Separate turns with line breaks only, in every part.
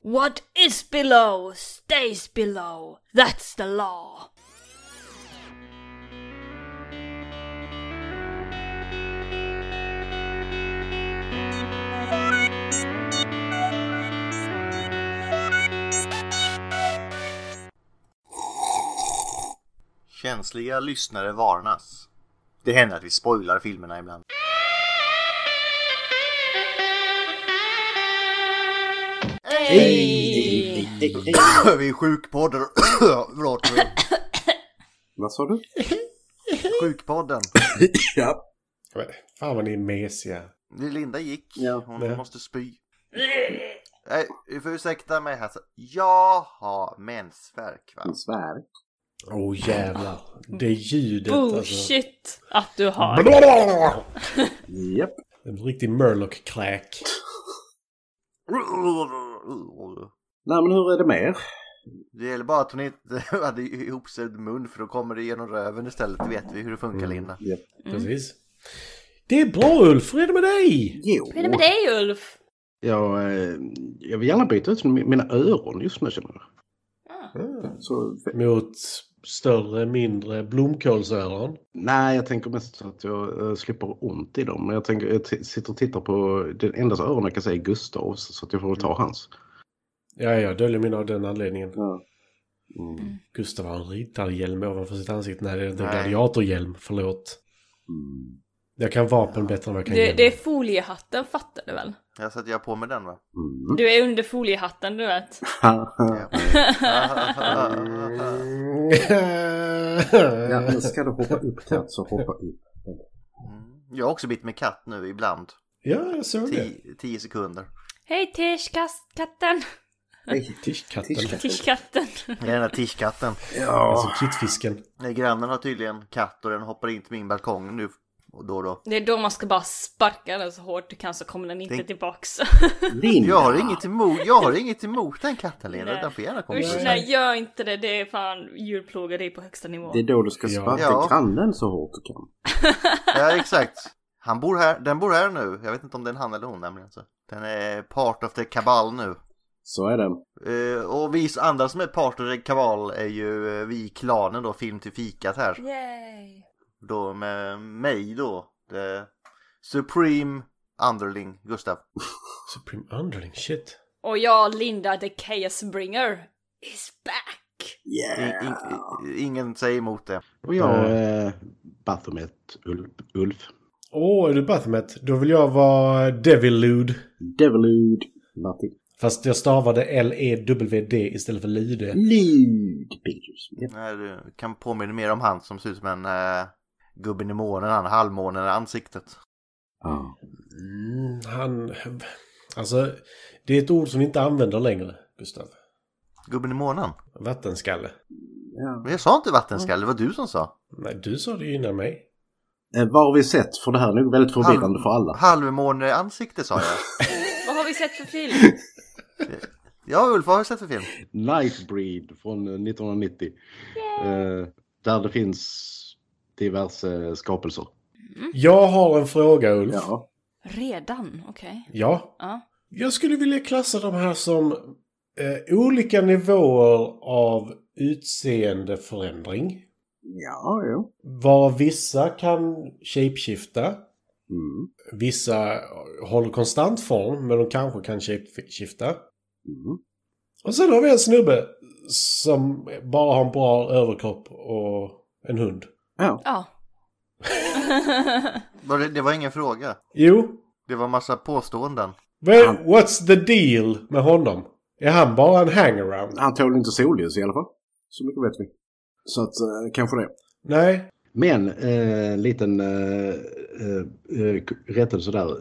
What is below stays below. That's the law.
Känsliga lyssnare varnas. Det händer att vi spoilar filmerna ibland.
Hej!
Vi är sjukpodden. Förlåt. vi är
Vad sa du?
Sjukpodden.
Ja.
Men, Fan vad ni är mesiga.
Linda gick.
Ja.
Hon
Ja.
måste spy. Nej, du får ursäkta mig här. så- Jag har mensvärk va?
En svärk.
Åh oh, jävlar. Det ljudet alltså.
Bullshit att du har.
Blablabla.
Japp.
Det är en riktig murloc-kräk.
Nej men hur är det med er?
Det gäller bara att hon inte hade ihopsövd mun för då kommer det genom röven istället. Det vet vi hur det
Mm.
funkar Linda.
Japp.
Precis. Det är bra Ulf, hur är det med dig?
Jo.
Hur är det med dig Ulf?
Jag, eh, jag vill gärna byta ut min- mina öron just nu känner jag.
Ah.
Eh, Så,
Mot större, mindre blomkålsöron.
nej, jag tänker mest att jag eh, slipper ont i dem. Men jag, tänker, jag t- sitter och tittar på den enda öron jag kan säga är Gustavs. Så att jag får väl ta hans.
Ja, jag döljer mina av den anledningen.
Ja. Mm.
Gustav har en riddarhjälm ovanför sitt ansikte. Nej, det är inte en
Nej.
gladiatorhjälm. Förlåt.
Mm.
Jag kan vapen bättre än vad jag kan
Det,
hjälm.
det är foliehatten fattar du väl?
Jag sätter jag på med den va?
Mm.
Du är under foliehatten du vet.
Ja.
Ja, ska du hoppa upp katt så hoppa upp.
Mm. Jag har också bitit med katt nu ibland.
ja, jag såg det.
Ti- tio sekunder.
Hej Tish-katten!
Hej.
Tischkatten.
Tischkatten.
Tish-katten!
Det är den där tischkatten.
Ja.
Alltså kittfisken.
Nej, Grannen har tydligen katt och den hoppar in till min balkong nu och då och då.
Det är då man ska bara sparka den så hårt du kan så kommer den inte
Tänk-
tillbaks.
Linda.
Jag har inget emot, jag har inget emot den katten Linda.
Nej.
Den får gärna komma.
Usch nej gör inte det, det är fan djurplågeri på högsta nivå.
Det är då du ska
Ja.
sparka
Ja.
grannen så hårt du kan.
Ja exakt. Han bor här, den bor här nu. Jag vet inte om det är en han eller hon nämligen. Så. Den är part of the kabal nu.
Så är det.
Eh, och vi andra som är part of the kabal är ju eh, vi i klanen då, film till fikat här.
Yay!
Då med mig då. The Supreme Underling Gustav.
Supreme Underling, shit.
Och jag Linda the Chaosbringer is back!
I,
Yeah.
in, i- ingen säger emot det.
Och jag eh, Batomet Ulf. Ulf.
Åh, är du Baphomet? Då vill jag vara Devilude.
Devilud. Martin.
Fast jag stavade L-E-W-D istället för Lyde.
Lud. Pictures. Yep.
Nej, du kan påminna mer om han som ser ut som en eh, gubben i månen, han halvmånen i ansiktet.
Ja.
Mm, han... Alltså, det är ett ord som vi inte använder längre, Gustav.
Gubben i månen?
Vattenskalle.
Ja.
Men jag sa inte vattenskalle, det var du som sa.
Nej, du sa det ju innan mig.
Eh, vad har vi sett? För det här är nog väldigt förvirrande för alla.
Halvmåne i ansikte sa jag.
Vad har vi sett för film?
Ja Ulf, vad har du sett för film?
Nightbreed från eh, 1990. Eh, där det finns diverse skapelser.
Jag har en fråga, Ulf.
Ja.
Redan? Okej.
Ja.
Ja.
Jag skulle vilja klassa de här som eh, olika nivåer av utseendeförändring.
Ja, jo.
Var vissa kan shapeshifta.
Mm.
Vissa håller konstant form, men de kanske kan shapeshifta.
Mm.
Och sen har vi en snubbe som bara har en bra överkropp och en hund.
Ja.
Ja.
Var det, det var ingen fråga.
Jo,
Det var massa påståenden.
well,
Han-
what's the deal med honom? Är han bara en hangaround?
Han tål inte solljus i alla fall. Så mycket vet vi. Så att eh, kanske det.
Nej.
Men eh, liten eh, eh, eh, rättelse där.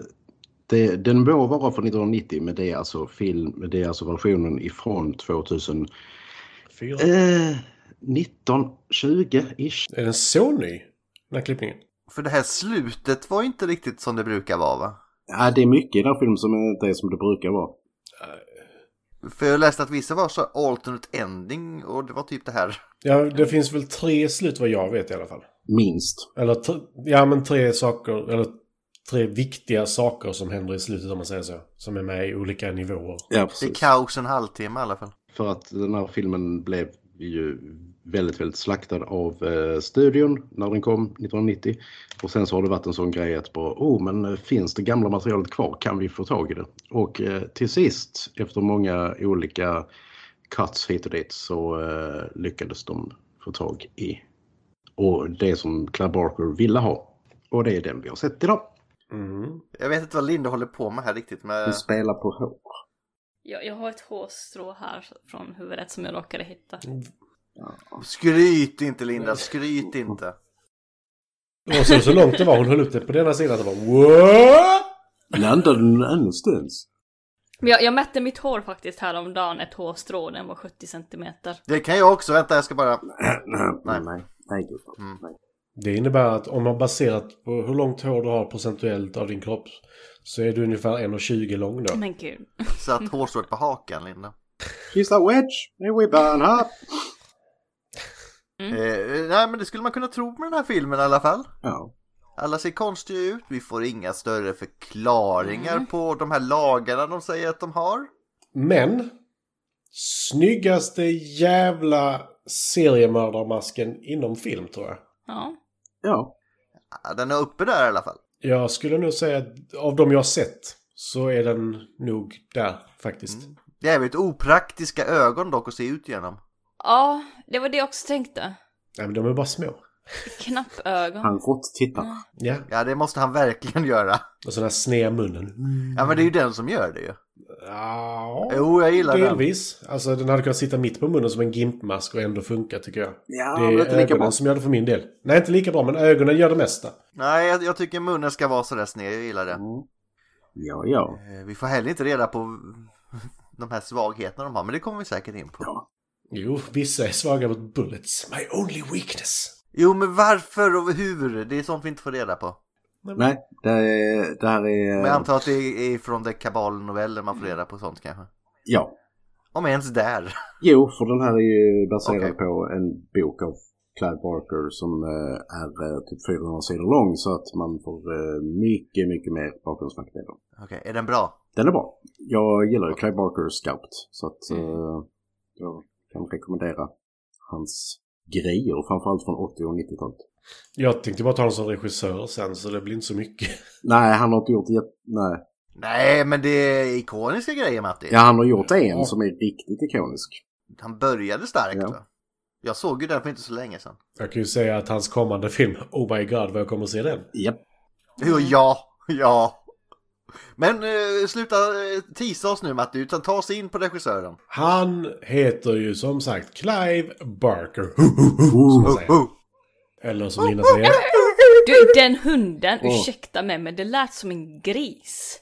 Det, den må vara från 1990 men det är alltså, film, det är alltså versionen ifrån 2000.
Fyra.
Eh, 19, 20-ish.
Är den så ny? Den här klippningen?
För det här slutet var ju inte riktigt som det brukar vara va?
Ja, det är mycket i den här filmen som inte är som det brukar vara.
För jag läste att vissa var så alternate ending och det var typ det här.
Ja, det finns väl tre slut vad jag vet i alla fall.
Minst.
Eller, t- ja men tre saker, eller tre viktiga saker som händer i slutet om man säger så. Som är med i olika nivåer.
Det
Ja,
är
precis.
kaos en halvtimme i alla fall.
För att den här filmen blev ju väldigt, väldigt slaktad av eh, studion när den kom 1990. Och sen så har det varit en sån grej att bara, oh men eh, finns det gamla materialet kvar? Kan vi få tag i det? Och eh, till sist, efter många olika cuts hit och dit, så eh, lyckades de få tag i och det som Clive Barker ville ha. Och det är den vi har sett idag.
Mm.
Jag vet inte vad Linda håller på med här riktigt. Men...
Du spelar på hår.
Jag, jag har ett hårstrå här från huvudet som jag råkade hitta.
Skryt inte Linda, skryt inte.
Och så, så långt det var, hon höll upp det på denna sidan och bara What?
Landade den annanstans?
Men jag, jag mätte mitt hår faktiskt häromdagen, ett hårstrå, den var 70 centimeter.
Det kan jag också, vänta jag ska bara...
nej, nej. Nej, gud.
Mm.
nej.
Det innebär att om man baserat på hur långt hår du har procentuellt av din kropp så är du ungefär 1,20 lång då.
Men gud.
Så att hårstrået på hakan Linda.
She's a wedge, and we burn her.
Eh, nej men det skulle man kunna tro med den här filmen i alla fall.
Ja.
Alla ser konstiga ut, vi får inga större förklaringar på de här lagarna de säger att de har.
Men snyggaste jävla seriemördarmasken inom film tror jag.
Ja.
Ja.
Ja, Den är uppe där i alla fall.
Jag skulle nog säga att av de jag har sett så är den nog där faktiskt.
Jävligt opraktiska ögon dock att se ut genom.
Ja, det var det jag också tänkte.
Nej men de är bara små.
Knappögon.
Han rått tittar.
Ja,
Ja, det måste han verkligen göra.
och sådana här sneda munnen.
Ja, men det är ju den som gör det ju.
Ja,
Jo, jag gillar den.
delvis. Alltså den hade kunnat sitta mitt på munnen som en gimpmask och ändå funka tycker jag.
Ja,
Det är
men inte lika
ögonen
bra.
som gör det för min del. Nej, inte lika bra, men ögonen gör det mesta.
Nej, jag, jag tycker munnen ska vara sådär sned, jag gillar det.
Mm. Ja, ja.
Eh, Vi får heller inte reda på de här svagheterna de har, men det kommer vi säkert in på.
Jo, vissa är svaga mot bullets. My only weakness.
Jo, men varför och hur? Det är sånt vi inte får reda på.
Nej, det, är, det här
Men jag
är...
antar att det är från det kabalnoveller man får reda på sånt kanske.
Ja.
Om ens där.
Jo, för den här är ju baserad
Okej.
på en bok av Clive Barker som eh, är eh, typ 400 sidor lång så att man får eh, mycket, mycket mer bakgrundsfakta i den.
Okej, är den bra?
Den är bra. Jag gillar ju Clive Barker skarpt så att eh, jag kan rekommendera hans grejer, framförallt från 80 och 90-talet.
Jag tänkte bara ta honom som regissör sen, så det blir inte så mycket.
Nej, han har inte gjort... jätte- Nej.
Nej, men det är ikoniska grejer Matti.
Ja, han har gjort en
Ja.
som är riktigt ikonisk.
Han började starkt.
Ja.
va? Jag såg ju den för inte så länge sedan.
Jag kan ju säga att hans kommande film, Oh my god, vad jag kommer att se den.
Japp. Mm.
Jo, ja, ja. Men eh, sluta eh, tisa oss nu Matti, utan ta sig in på regissören.
Han heter ju som sagt Clive Barker.
Oh,
man säga.
Oh, oh.
Eller som Lina säger.
Du, den hunden,
Åh.
ursäkta mig, men det lät som en gris.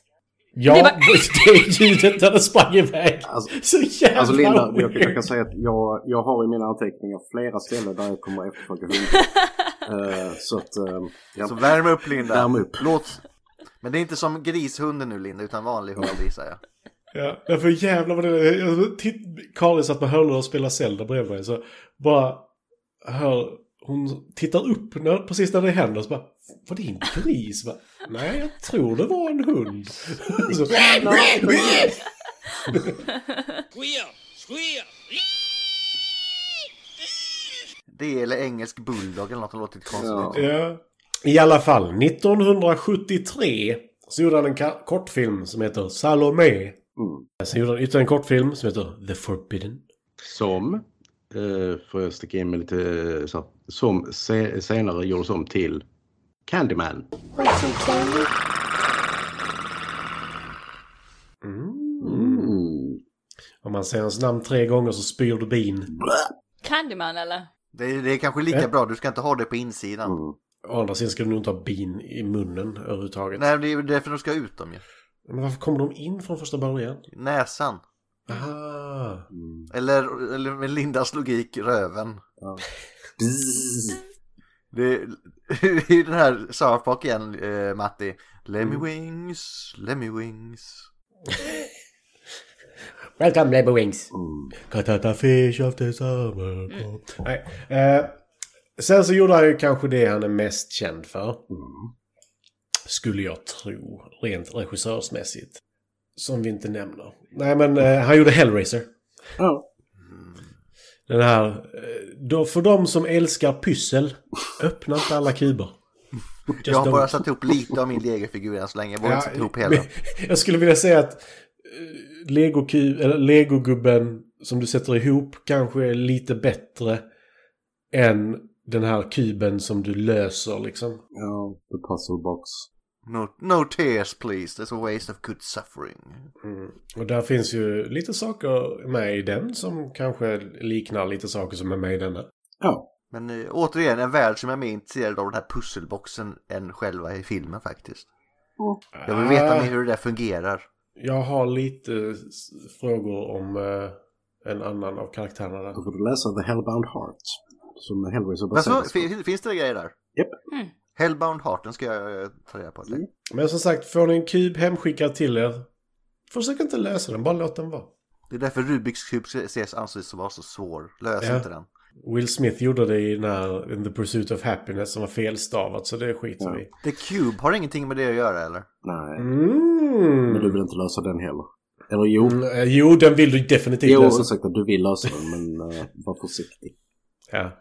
Ja,
Det
det,
var-
är ljudet när den sprang iväg.
Alltså-
så jävla
Alltså Linda, jag,
weird.
jag kan säga att jag, jag har i mina anteckningar flera ställen där jag kommer att efterfråga hundar. Eh, så att, eh, ja.
Så värm upp Linda.
Värm upp.
Låt... Men det är inte som grishunden nu Linda, utan vanlig hund visar jag.
Ja, ja, för jävlar vad det jag- titt- Karin satt med hörlurar och spelade Zelda bredvid mig. Så bara hör, hon tittar upp när, precis när det händer. Så bara, var det en gris? Bara, Nej, jag tror det var en hund. Så,
Det eller engelsk bulldog eller något som låter lite konstigt.
Ja.
ja. I alla fall, 1973 så gjorde han en ka- kortfilm som heter Salome.
Mm.
Sen gjorde han ytterligare en kortfilm som heter The Forbidden.
Som, eh, får jag sticka in med lite eh, så här, som se, senare gjordes om till Candyman.
Mm.
Om man säger hans namn tre gånger så spyr du bin.
Candyman eller?
Det, det är kanske lika
Ja.
bra, du ska inte ha det på insidan.
Mm.
Å andra sidan ska du nog inte ha bin i munnen överhuvudtaget.
Nej, det är ju därför de ska ut dem ju.
Men varför kommer de in från första början?
Näsan.
Aha.
Mm.
Eller, eller med Lindas logik, röven.
Bzzz.
Det det är ju den här South Park igen, eh, Matti. Lemmy
Mm.
Wings, Lemmy Wings.
Welcome Lebo Wings!
Mm.
Katata fish of the summer
Mm.
Nej. Eh, sen så gjorde han ju kanske det han är mest känd för.
Mm.
Skulle jag tro, rent regissörsmässigt. Som vi inte nämner. Nej men eh, han gjorde Hellraiser.
Ja.
Den här, eh, då, för de som älskar pyssel, öppna inte alla kuber. Just
Jag har
don't.
bara satt ihop lite av min legofigur än så länge. Jag vågar inte sätta ihop hela.
men Jag skulle vilja säga att eh, Lego-ku- eller legogubben som du sätter ihop kanske är lite bättre än den här kuben som du löser liksom.
ja, The Puzzle Box.
No, no tears please, there's a waste of good suffering.
Mm. Och där finns ju lite saker med i den som kanske liknar lite saker som är med i denna.
Ja,
Men eh, återigen, en värld som jag är mer intresserad av den här pusselboxen än själva i filmen faktiskt. Jag vill veta mer hur det där fungerar.
Ah, Jag har lite s- frågor om eh, en annan av karaktärerna där.
då får du läsa The Hellbound Heart. Som Hellraiser
Men så,
baseras på.
fin- finns det grejer där?
Japp.
Mm.
Hellbound Heart, den ska jag eh, ta reda på.
Mm.
Men som sagt, får ni en kub hemskickad till er, försök inte lösa den, bara låt den vara.
Det är därför Rubiks kub ses anses vara så svår. Lös
Ja.
inte den.
Will Smith gjorde det i den här in The Pursuit of Happiness som var felstavat så det skiter
Ja.
vi i.
The Cube har ingenting med det att göra eller?
Nej,
Mm.
men du vill inte lösa den heller. Eller jo.
Mm, eh, jo, den vill du definitivt
Jo,
lösa.
ursäkta, du vill lösa den, men eh, var försiktig.
Ja.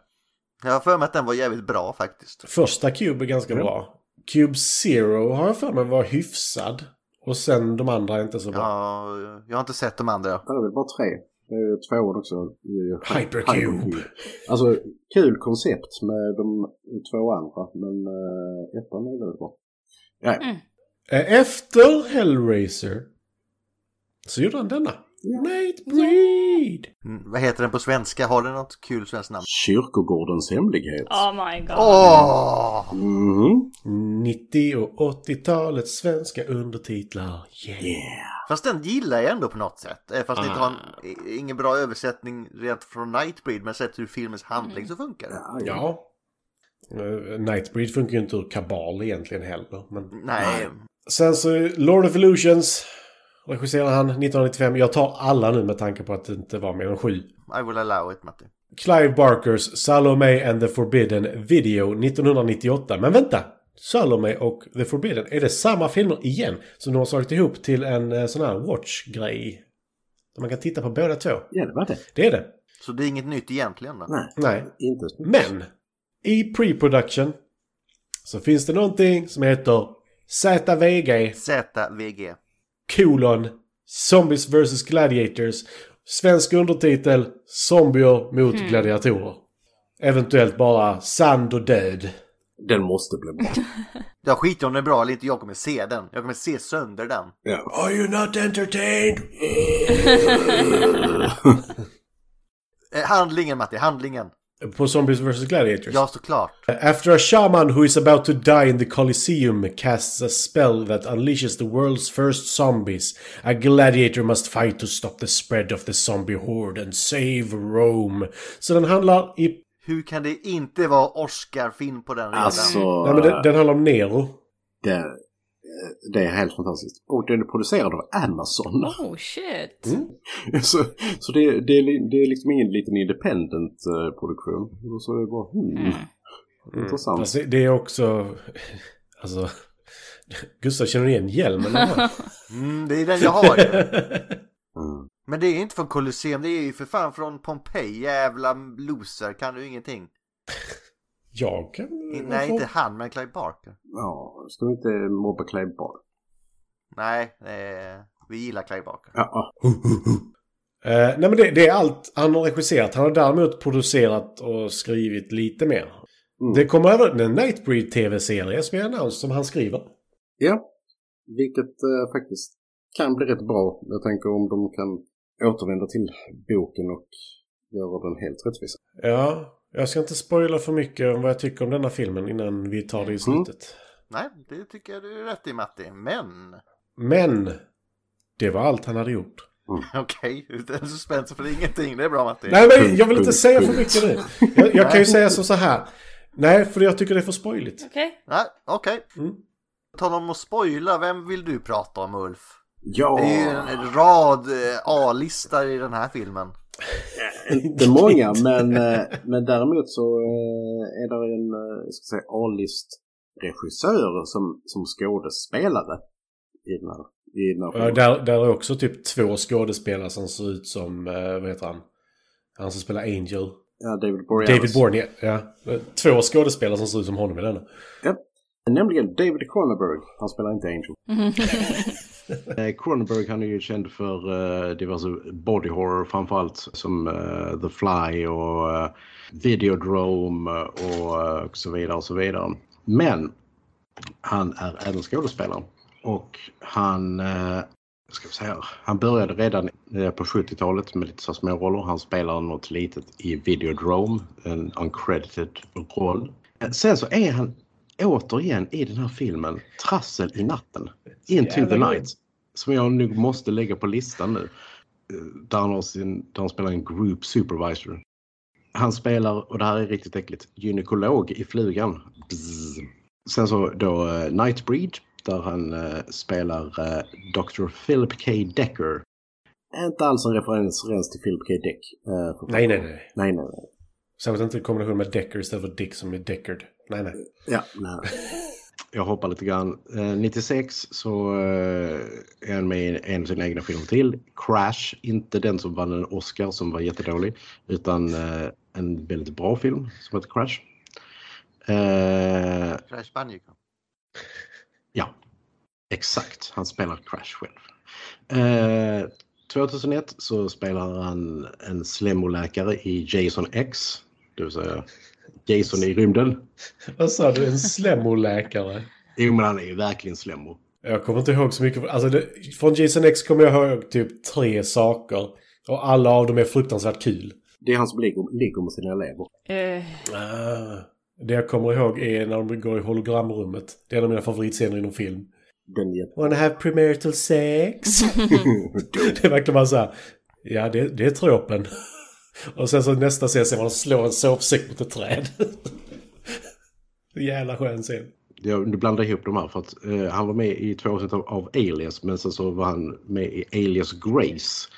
Jag har för mig att den var jävligt bra faktiskt.
Första Cube är ganska
Mm.
bra. Cube Zero har jag för mig var hyfsad. Och sen de andra är inte så bra.
Ja, jag har inte sett de andra.
Det är väl bara tre. Det är ju tvåan också. Det är ju
Hypercube.
Alltså, kul koncept med de två andra, men eh, ettan är väldigt bra. Ja,
Mm.
Eh, Efter Hellraiser så gjorde han denna. Nate Breed!
Mm, vad heter den på svenska? Har den något kul svenskt namn?
Kyrkogårdens hemlighet.
Oh my god.
Åh!
Mhm.
90 och 80-talets svenska undertitlar. Yeah.
Yeah.
Fast den gillar jag ändå på något sätt. Eh, Fast det inte har en, i- ingen bra översättning rent från Nightbreed men sett hur filmens handling så funkar det.
Ja, ja.
Ja. Eh, Nightbreed funkar ju inte ur kabal egentligen heller. Men...
Nej,
Sen så Lord of Illusions regisserar han 1995. Jag tar alla nu med tanke på att det inte var mer än sju.
I will allow it Matti.
Clive Barkers Salome and the Forbidden Video 1998. Men vänta! Salome och The Forbidden, är det samma filmer igen? Som de har slagit ihop till en eh, sån här watch-grej? Där man kan titta på båda två.
det var det.
Det är det.
Så det är inget nytt egentligen då?
Nej,
Nej.
inte.
Men i pre-production så finns det någonting som heter ZVG
ZVG.
kolon Zombies vs Gladiators. Svensk undertitel Zombier mot gladiatorer. Eventuellt bara Sand och död.
Den måste bli bra.
Jag skiter om den är bra eller inte, jag kommer se den. Jag kommer se sönder den.
ja.
Are you not entertained?
Eh, handlingen Matti, handlingen.
På Zombies vs Gladiators?
Ja, såklart.
After a shaman who is about to die in the Colosseum casts a spell that unleashes the world's first zombies, a gladiator must fight to stop the spread of the zombie horde and save Rome. Så den handlar i...
Hur kan det inte vara Oscar-film på den redan?
Alltså,
Nej, men den, den handlar om Nero.
det, eh, det är helt fantastiskt. Och den är producerad av Amazon.
Oh shit.
Så, så det, det, är, li- det är liksom ingen liten independent eh, produktion. Och så är det bara, hmm, intressant.
Fast det, det är också... Alltså... Gustav känner igen hjälmen han har.
Mm, det är den jag har ju.
Mm.
Men det är inte från Colosseum, det är ju för fan från Pompeji, jävla loser, kan du ingenting?
Jag kan...
Mm,
Nej, inte han, men Clive Barker.
Ja, ska vi inte mobba Clive Barker?
Nej, eh, vi gillar Clive Barker.
Ja, ja.
Eh, nej men det, det är allt han har regisserat. Han har däremot producerat och skrivit lite mer.
Mm.
Det kommer även en Nightbreed tv-serie som är annons som han skriver.
ja. vilket eh, faktiskt kan bli rätt bra. Jag tänker om de kan återvända till boken och göra den helt rättvis.
Ja, jag ska inte spoila för mycket om vad jag tycker om denna filmen innan vi tar det i slutet.
Nej, det tycker jag du är rätt i Matti, men...
Men, det var allt han hade gjort.
Okej, utan suspens för ingenting, det är bra Matti.
Nej men
Punkt,
jag vill inte
punkt,
säga för
punkt.
mycket nu. Jag, jag kan ju säga som så här. Nej, för jag tycker det är för spoiligt.
Okej.
Nej, okej.
Mm.
Tala om att spoila, vem vill du prata om Ulf?
Ja,
Det är ju en, en rad eh, A-listar i den här filmen.
inte många men, eh, men däremot så eh, är det en eh, jag ska säga, A-list
regissörer som, som skådespelare i den här, i den här
Ja,
filmen.
där, där är också typ två skådespelare som ser ut som, eh, vad heter han? Han som spelar Angel.
Ja, David Boreanaz.
David Bourne, ja. Två skådespelare som ser ut som honom i denna.
Nämligen David Cronenberg. Han spelar inte Angel.
Eh, Cronenberg han är ju känd för eh, diverse body horror framförallt som eh, The Fly och eh, Videodrome och, eh, och så vidare och så vidare. Men han är även skådespelare och han, eh, vad ska jag säga, han började redan eh, på 70-talet med lite så här små roller. Han spelar något litet i Videodrome, en uncredited roll. Eh, Sen så är han återigen i den här filmen Trassel i natten, Into the
Jävla god.
night, som jag nu måste lägga på listan nu. Eh, Där han, har sin, där han spelar en group supervisor. Han spelar, och det här är riktigt äckligt, gynekolog i Flugan. Bzzz. Sen så då eh, Nightbreed där han eh, spelar eh, Dr. Philip K. Decker.
Inte alls en referens ens till Philip K. Dick. eh, för-
Nej, nej, nej.
Nej, nej, nej.
Särskilt inte i kombination med Decker istället för Dick som är Deckard. Nej, nej.
Ja, nej.
Jag hoppar lite grann. Eh, 96 så eh, är han med i en av sina egna filmer till. Crash, inte den som vann en Oscar som var jättedålig, utan eh, en väldigt bra film som heter Crash. Eh,
Crash Bandicoot.
Ja, exakt. Han spelar Crash själv. Eh, 2001 så spelar han en slemoläkare i Jason X, det vill säga Jason i rymden.
Vad sa du? En slemmoläkare?
Jo, men han är ju verkligen slemo.
Jag kommer inte ihåg så mycket. Alltså, det, från Jason X kommer jag ihåg typ tre saker. Och alla av dem är fruktansvärt kul.
Det är han som ligger, ligger med sina elever.
Eh,
Ah. Det jag kommer ihåg är när de går i hologramrummet. Det är en av mina favoritscener inom film.
Den är
Wanna have premarital sex? det är verkligen bara så här. Ja, det, det är tropen. Och sen så nästa scen ser man att slå en sovsäck mot ett träd. Jävla skön scen.
Jag, nu blandar jag ihop de här för att eh, han var med i två avsnitt av, av Alias, men sen så var han med i Alias Grace.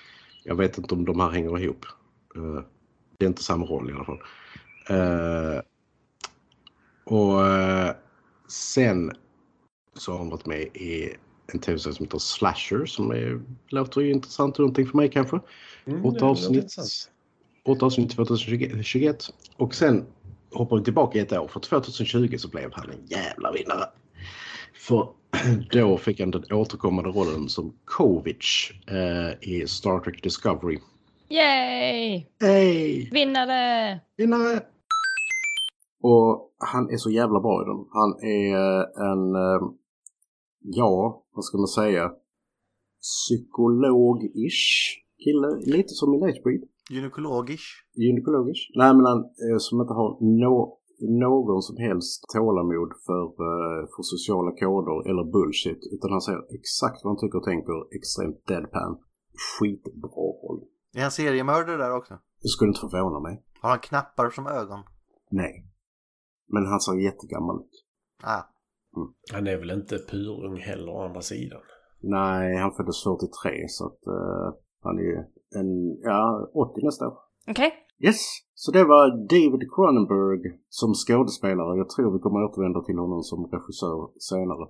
Jag vet inte om de här hänger ihop. Eh, det är inte samma roll i alla fall. Eh, och eh, sen så har han varit med i en tv-serie som heter Slasher som är, låter ju intressant och någonting för mig kanske. Åtta avsnitt. Åtta avsnitt 2021. Och sen hoppar vi tillbaka ett år. För 2020 så blev han en jävla vinnare. För då fick han den återkommande rollen som Kovic eh, i Star Trek Discovery.
yay!
Hej!
Vinnare!
Vinnare!
Och han är så jävla bra i den. Han är eh, en, eh, ja, vad ska man säga, psykolog-ish kille. Lite som i Nightbreed.
Gynekologisk.
Gynekologisk. Nej, men han eh, som inte har nå någon som helst tålamod för, eh, för sociala koder eller bullshit. Utan han säger exakt vad han tycker och tänker, extremt deadpan. Skitbra roll.
Är han seriemördare där också?
Det skulle inte förvåna mig.
Har han knappar som ögon?
Nej. Men han ser jättegammal ut.
Ah,
Han är väl inte purung heller å andra sidan.
Nej, han föddes 43 så att eh, han är ju en, ja, 80 nästa år.
Okej.
Yes! Så det var David Cronenberg som skådespelare. Jag tror vi kommer återvända till honom som regissör senare.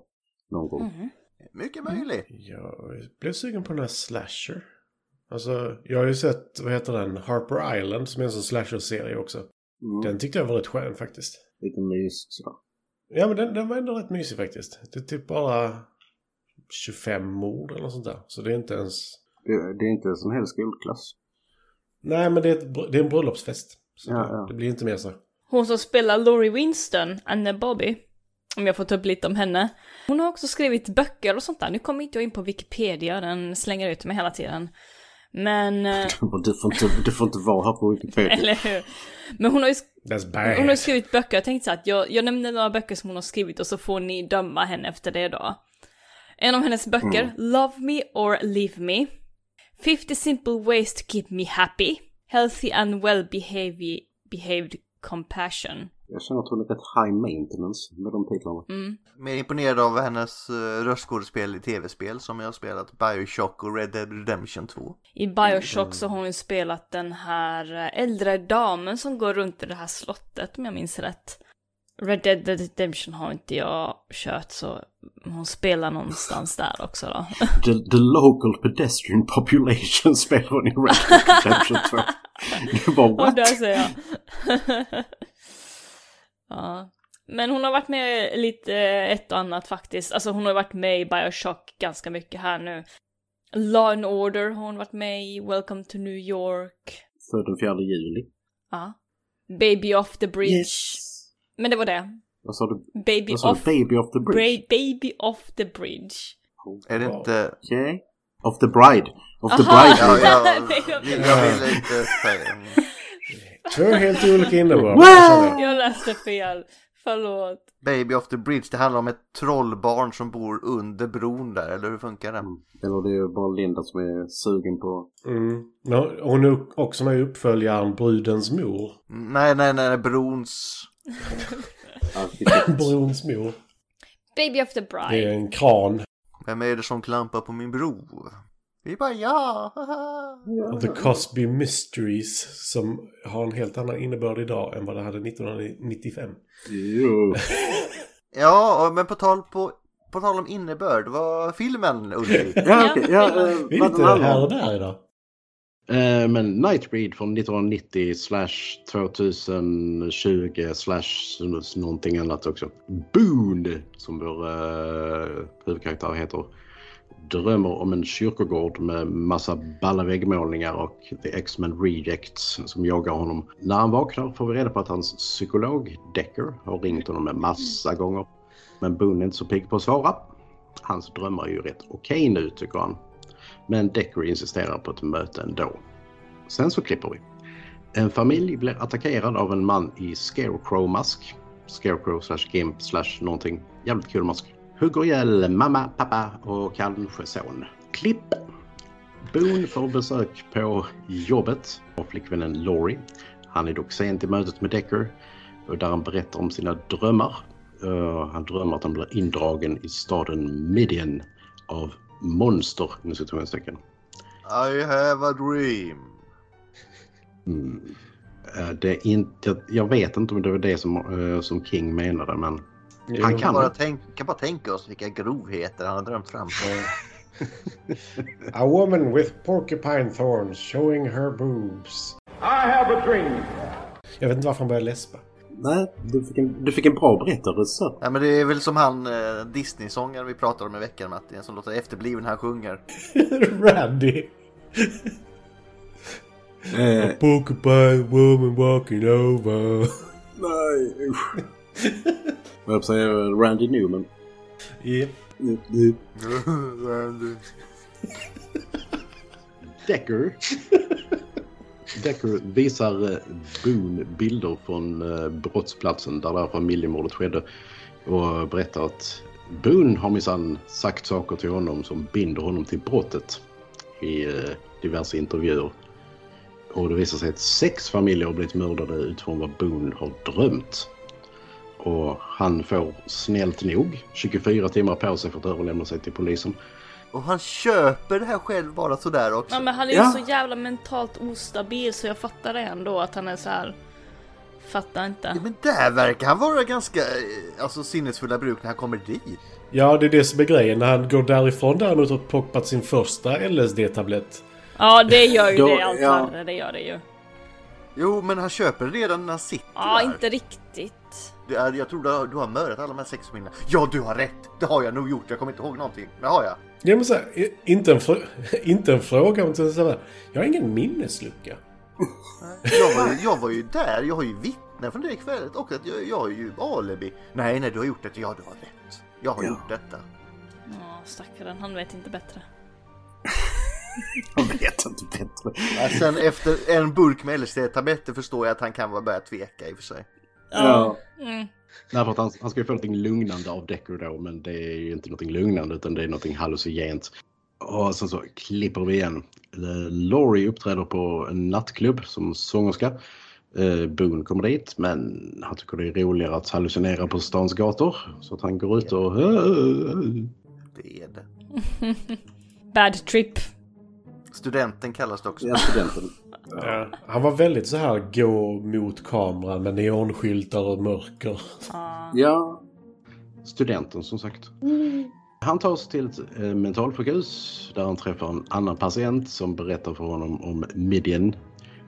Någon gång.
Mm.
mycket möjligt.
Jag blev sugen på den här slasher. Alltså, jag har ju sett, vad heter den, Harper Island som är en sån slasher-serie också.
Mm.
Den tyckte jag var rätt skön faktiskt.
Lite mysigt sådär.
Ja, men den, den var ändå rätt mysig faktiskt. Det är typ bara 25 mord eller något sånt där. Så det är inte ens...
Det, det är inte en sån hel skolklass.
Nej, men det är, ett, br- det är en bröllopsfest. Så
Ja,
det,
ja.
det blir inte mer så.
Hon som spelar Laurie Winston, Anne Bobby, om jag får ta upp lite om henne. Hon har också skrivit böcker och sånt där. Nu kommer inte jag in på Wikipedia, den slänger ut mig hela tiden. Men... eh,
Du får inte, du får inte vara här på Wikipedia.
Eller hur? Men hon har ju, sk-
That's
hon har ju
bad.
skrivit böcker. Jag tänkte så här att jag, jag nämner några böcker som hon har skrivit och så får ni döma henne efter det då. En av hennes böcker, Love Me or Leave Me. 50 Simple Ways to Keep Me Happy. Healthy and Well Behavi- Behaved Compassion.
Jag känner att hon är rätt high maintenance med de titlarna.
Mm.
Mer imponerad av hennes uh, röstskådespel i tv-spel som jag har spelat Bioshock och Red Dead Redemption 2.
I Bioshock så har hon ju eh, spelat den här äldre damen som går runt i det här slottet om jag minns rätt. Red Dead Redemption har inte jag kört så hon spelar någonstans där också då.
The, the local pedestrian population spelar hon i Red Dead Redemption 2. Det var
Och
what?
där säger jag. ja. Men hon har varit med lite eh, ett och annat faktiskt. Alltså hon har varit med i Bioshock ganska mycket här nu. Law and Order har hon varit med i, Welcome to New York.
För den 4 juli.
Ja. Baby off the bridge. Men det var det.
Vad sa du?
Baby
Vad sa
off...
du? Oh, Alltså, Baby of the bridge?
Bra- baby off the bridge.
Är det inte...
Okej. Of the bride. Of the
Aha.
bride.
Ja, jag,
Baby of the
jag vill inte säga...
Två helt olika innebörd.
Jag läste fel. Förlåt.
Baby of the Bridge, det handlar om ett trollbarn som bor under bron där, eller hur funkar det?
Eller det är bara Linda som är sugen på...
Mm. Ja, Hon är också med i uppföljaren Brudens mor.
Mm, Nej, nej, nej, nej, brons...
arkitekt.
Brons mor.
Baby of the
Det
bride.
är en kran.
Vem är det som klampar på min bro? Vi bara ja, haha.
Och The Cosby Mysteries som har en helt annan innebörd idag än vad det hade 1995.
Jo.
Ja, och- men på tal, på, på tal om innebörd, vad filmen Ulrik?
Ja, okej. Ja, eh,
Vi är
vad
inte
den handlar
här
om.
och där idag.
Eh, men Nightbreed från 1990 slash 2020 slash någonting annat också. Boone, som vår eh, huvudkaraktär heter, drömmer om en kyrkogård med massa balla väggmålningar och The X-Men Rejects som jagar honom. När han vaknar får vi reda på att hans psykolog Decker har ringt honom en massa gånger. Men Boone är inte så pigg på att svara. Hans drömmar är ju rätt okej nu tycker han. Men Decker insisterar på ett möte ändå. Sen så klipper vi. En familj blir attackerad av en man i Scarecrow-mask. Scarecrow slash Gimp slash någonting. Jävligt kul mask. Hugger ihjäl mamma, pappa och kanske son. Klipp! Boone får besök på jobbet av flickvännen Laurie. Han är dock sent i mötet med Decker och där han berättar om sina drömmar. Eh, han drömmer att han blir indragen i staden Midian av monster, nu situationstecken.
I have a dream.
Mm. Eh, Det är inte, jag- jag vet inte om det var det som, eh, som King menade, men han
Kan
kan
bara,
det.
tänk, kan bara tänka oss vilka grovheter han har drömt fram.
A woman with porcupine thorns showing her boobs.
I have a dream.
Jag vet inte varför han började läspa.
Nej, du fick en, du fick en bra berättarröst där.
Ja, men det är väl som han eh, Disney-sångaren vi pratade om i veckan Martin, som låter efterbliven när han sjunger.
Randy.
Eh,
Porcupine woman walking over.
nej, usch. Vad jag säger Randy Newman.
Yep.
Eh, eh,
Decker. Decker visar eh, Boone bilder från eh, brottsplatsen där det här familjemordet skedde och berättar att Boone har minsann sagt saker till honom som binder honom till brottet i eh, diverse intervjuer. Och det visar sig att sex familjer har blivit mördade utifrån vad Boone har drömt. Och han får snällt nog 24 timmar på sig för att överlämna sig till polisen.
Och han köper det här själv bara sådär också.
Ja men han är ju
Ja.
så jävla mentalt ostabil så jag fattar det ändå att han är så här. Fattar inte.
Ja, men där verkar han vara ganska eh, alltså, sinnesfulla bruk när han kommer dit.
Ja, det är det som är grejen. När han går därifrån däremot och plockat sin första LSD-tablett.
Ja det gör ju
Då-
det allt
ja.
värre, det gör det ju.
Jo, men han köper det redan när han sitter
Ja
där.
inte riktigt.
Det är, jag tror du har, du har mördat alla de här sex kvinnorna. Ja, du har rätt! Det har jag nog gjort. Jag kommer inte ihåg någonting. Det har jag.
Ja men så här, i- inte, en fr- inte en fråga men så här, jag har ingen minneslucka.
Jag var, ju- jag var ju där. Jag har ju vittnen från det kvället och att jag, jag har ju alibi. Nej, nej, du har gjort detta. Ja, du har rätt. Jag har
Ja.
gjort detta.
Ja stackaren, han vet inte bättre.
Jag vet inte bättre.
Ja, Sen efter en burk med LSD-tabletter förstår jag att han kan vara börja tveka i och för sig.
Ja.
Mm.
Nej, för att han, han ska ju få någonting lugnande av Decker då, men det är ju inte någonting lugnande utan det är någonting hallucinogent. Och sen så klipper vi igen. Eh, Laurie uppträder på en nattklubb som sångerska. Eh, Boone kommer dit, men han tycker det är roligare att hallucinera på stans gator. Så att han går ut och...
Det är det.
Bad trip.
Studenten kallas det också.
Jag är studenten.
Ja. Han var väldigt så här gå mot kameran med neonskyltar och mörker.
Ja,
studenten som sagt. Han tas till ett eh, mentalsjukhus där han träffar en annan patient som berättar för honom om Midian.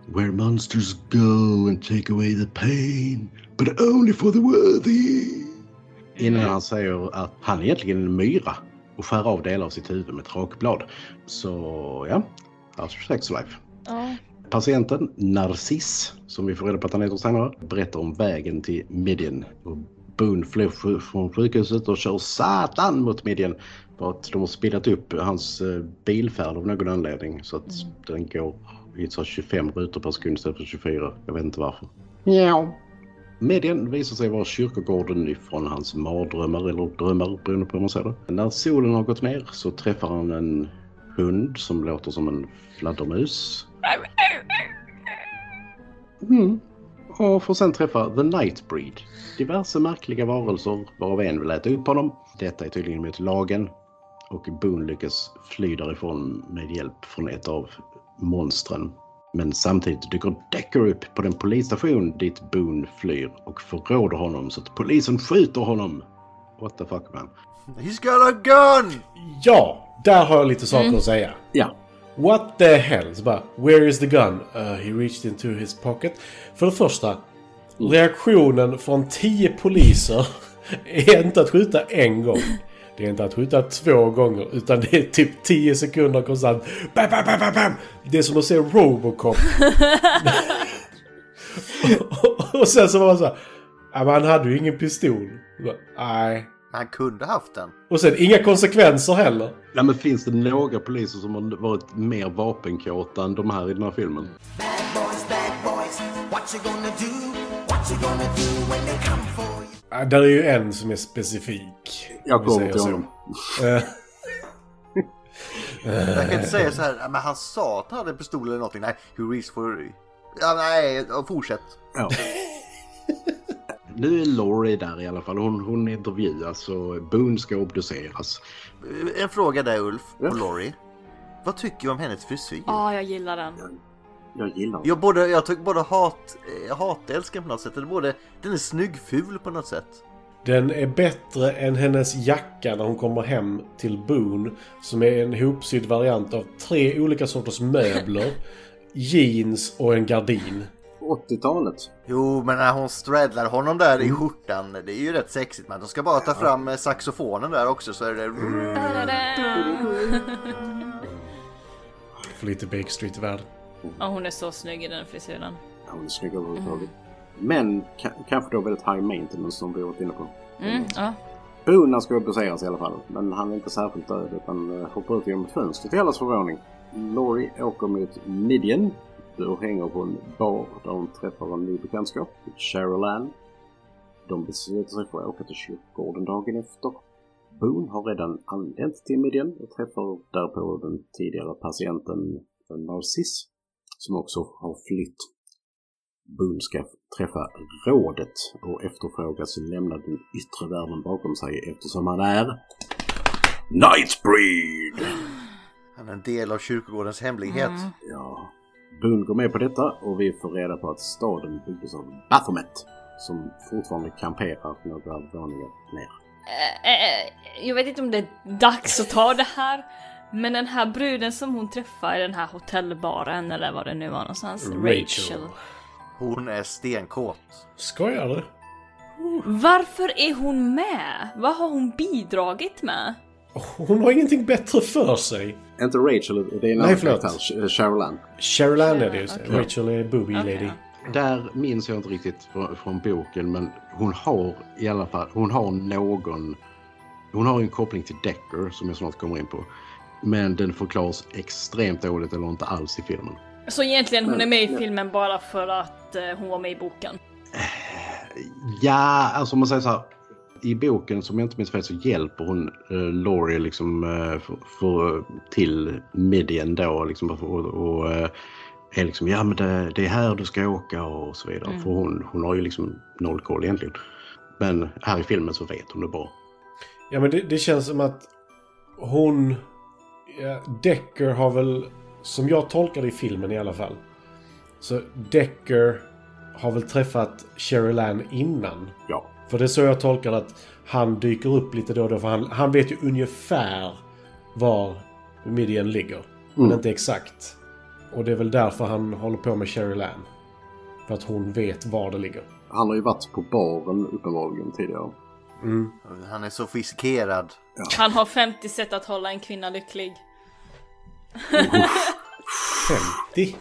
Where monsters go and take away the pain, but only for the worthy. Innan han säger att han egentligen är en myra och skär av delar av sitt huvud med ett rakblad. Så ja, that's sex life.
Ja.
Patienten Narciss, som vi får reda på att han heter senare, berättar om vägen till Midjan. Och Boone flyr sj- från sjukhuset och kör satan mot Midjan för att de har speedat upp hans eh, bilfärd av någon anledning så att den går i så här 25 rutor per sekund istället för 24. Jag vet inte varför. Ja. Medien visar sig vara kyrkogården ifrån hans mardrömmar eller drömmar beroende på hur man ser det. När solen har gått ner så träffar han en hund som låter som en fladdermus Mm. Och får sen träffa The Nightbreed. Diverse märkliga varelser varav en vill äta upp honom. Detta är tydligen mot lagen. Och Boone lyckas fly därifrån med hjälp från ett av monstren. Men samtidigt dyker Decker upp på den polisstation dit Boone flyr och förråder honom så att polisen skjuter honom. What the fuck man.
He's got a gun!
Ja, där har jag lite saker att säga.
ja.
What the hell? Så bara, where is the gun? Uh, he reached into his pocket. För det första, reaktionen från tio poliser är inte att skjuta en gång. Det är inte att skjuta två gånger, utan det är typ tio sekunder konstant. Bam, bam, bam, bam, bam. Det är som att se Robocop. och sen så var man så här, "Ja, men han hade ju ingen pistol. Så bara, Nej.
Han kunde haft den.
Och sen inga konsekvenser heller.
Nej men finns det några poliser som har varit mer vapenkåta än de här i den här filmen?
Bad boys, bad boys, what you gonna do? What you gonna do when they come for you?
Ja, Där är ju en som är specifik.
Jag
om vi säger
kommer till
så. Eh,
honom.
Jag kan inte säga så här, men han sa att han hade en pistol eller någonting. Nej, who reached for... Ja, nej, fortsätt.
Ja.
Nu är Laurie där i alla fall. Hon, hon intervjuas och Boone ska obduceras.
En fråga där Ulf
Ja.
och Lori. Vad tycker du om hennes frisyr?
Ja, jag gillar den.
Jag gillar honom.
Jag, både, jag tycker både hat, eh, hatälskar på något sätt. Eller både, den är snygg ful på något sätt.
Den är bättre än hennes jacka när hon kommer hem till Boone. Som är en hopsydd variant av tre olika sorters möbler. jeans och en gardin.
80-talet.
Jo, men när hon straddlar honom där i skjortan, det är ju rätt sexigt. Men de ska bara ta fram eh, saxofonen där också så är det...
För lite Bake Street-värld.
Ja, hon är så snygg i den frisyren.
Ja, Hon är snygg överhuvudtaget. Men ka- kanske då väldigt high maintenance som vi har varit inne på.
Mm, ja.
Boone ska obduceras i alla fall, men han är inte särskilt död utan eh, hoppar ut genom ett fönster till allas förvåning. Laurie åker mot Midian och hänger på en bar där hon träffar en ny bekantskap, Cheryl Ann. De beslutar sig för att åka till kyrkogården dagen efter. Boone har redan anlänt till Midian och träffar därpå den tidigare patienten Narciss, som också har flytt. Boone ska träffa rådet och efterfrågas lämna den yttre världen bakom sig eftersom han är Nightbreed!
Han är en del av kyrkogårdens hemlighet.
Ja, Boone går med på detta och vi får reda på att staden byggdes av Baphomet som fortfarande kamperar några våningar ner.
Eh, eh, Jag vet inte om det är dags att ta det här. Men den här bruden som hon träffar i den här hotellbaren eller vad det nu var någonstans.
Rachel.
Hon är stenkåt.
Skojar du?
Varför är hon med? Vad har hon bidragit med?
Hon har ingenting bättre för sig.
Inte Rachel, det är en
Nej,
annan
förlåt.
karaktär, Sh- eh, Cheryl Ann.
Cheryl Ann är det just
Okej.
Rachel är booby
Okej,
lady.
Där minns jag inte riktigt från, från boken men hon har i alla fall, hon har någon, hon har en koppling till Decker som jag snart kommer in på. Men den förklaras extremt dåligt eller inte alls i filmen.
Så egentligen hon är med i filmen bara för att eh, hon var med i boken.
Ja, alltså om man säger så här. I boken, som jag inte minns fel, så hjälper hon eh, Laurie liksom, eh, för, för, till Midian då. Liksom, och och eh, är liksom, ja men det, det är här du ska åka och så vidare. För hon, hon har ju liksom noll koll egentligen. Men här i filmen så vet hon det bra.
Ja men det, det känns som att hon... Ja, Decker har väl, som jag tolkar det i filmen i alla fall, Så Decker har väl träffat Sherry Lan innan?
Ja.
För det är så jag tolkar det, att han dyker upp lite då och då. För han, han vet ju ungefär var midjan ligger. Men inte exakt. Och det är väl därför han håller på med Sherry Lan. För att hon vet var det ligger.
Han har ju varit på baren uppenbarligen tidigare.
Han är sofistikerad.
Han har 50 sätt att hålla en kvinna lycklig.
50!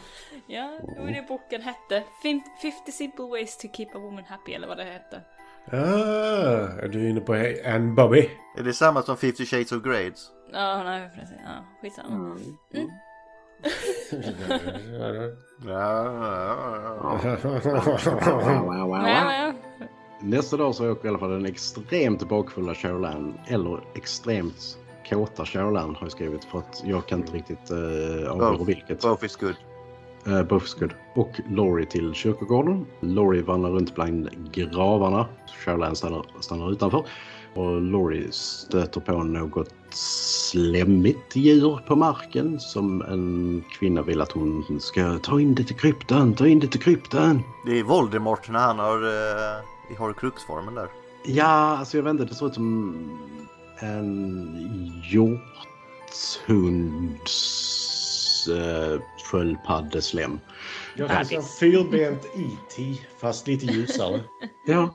Ja, det var det boken hette. Fin- 50 simple ways to keep a woman happy, eller vad det hette.
Ah, är du inne på he- Anne Bobby?
Är det samma som 50 shades of grades?
Ja, nej precis. Ja, skitsamma.
Ja, ja, ja.
Mm.
Wow, wow,
Nej,
wow.
men,
Nästa dag så åker i alla fall den extremt bakfulla Caroline, eller extremt kåta Caroline har jag skrivit för att jag kan inte riktigt eh, avgöra
Both.
vilket.
Both is good.
Eh, Buffskudd och Laurie till kyrkogården. Laurie vandrar runt bland gravarna. Caroline stannar, stannar utanför. Och Laurie stöter på något slemmigt djur på marken som en kvinna vill att hon ska ta in det till kryptan, ta in det till kryptan.
Det är Voldemort när han har, eh, i horcruxformen där.
Ja, alltså jag vet inte, det ser ut som en hjorthunds eh, sköldpaddeslem.
Jag kan säga fyrbent IT, fast lite ljusare.
Ja.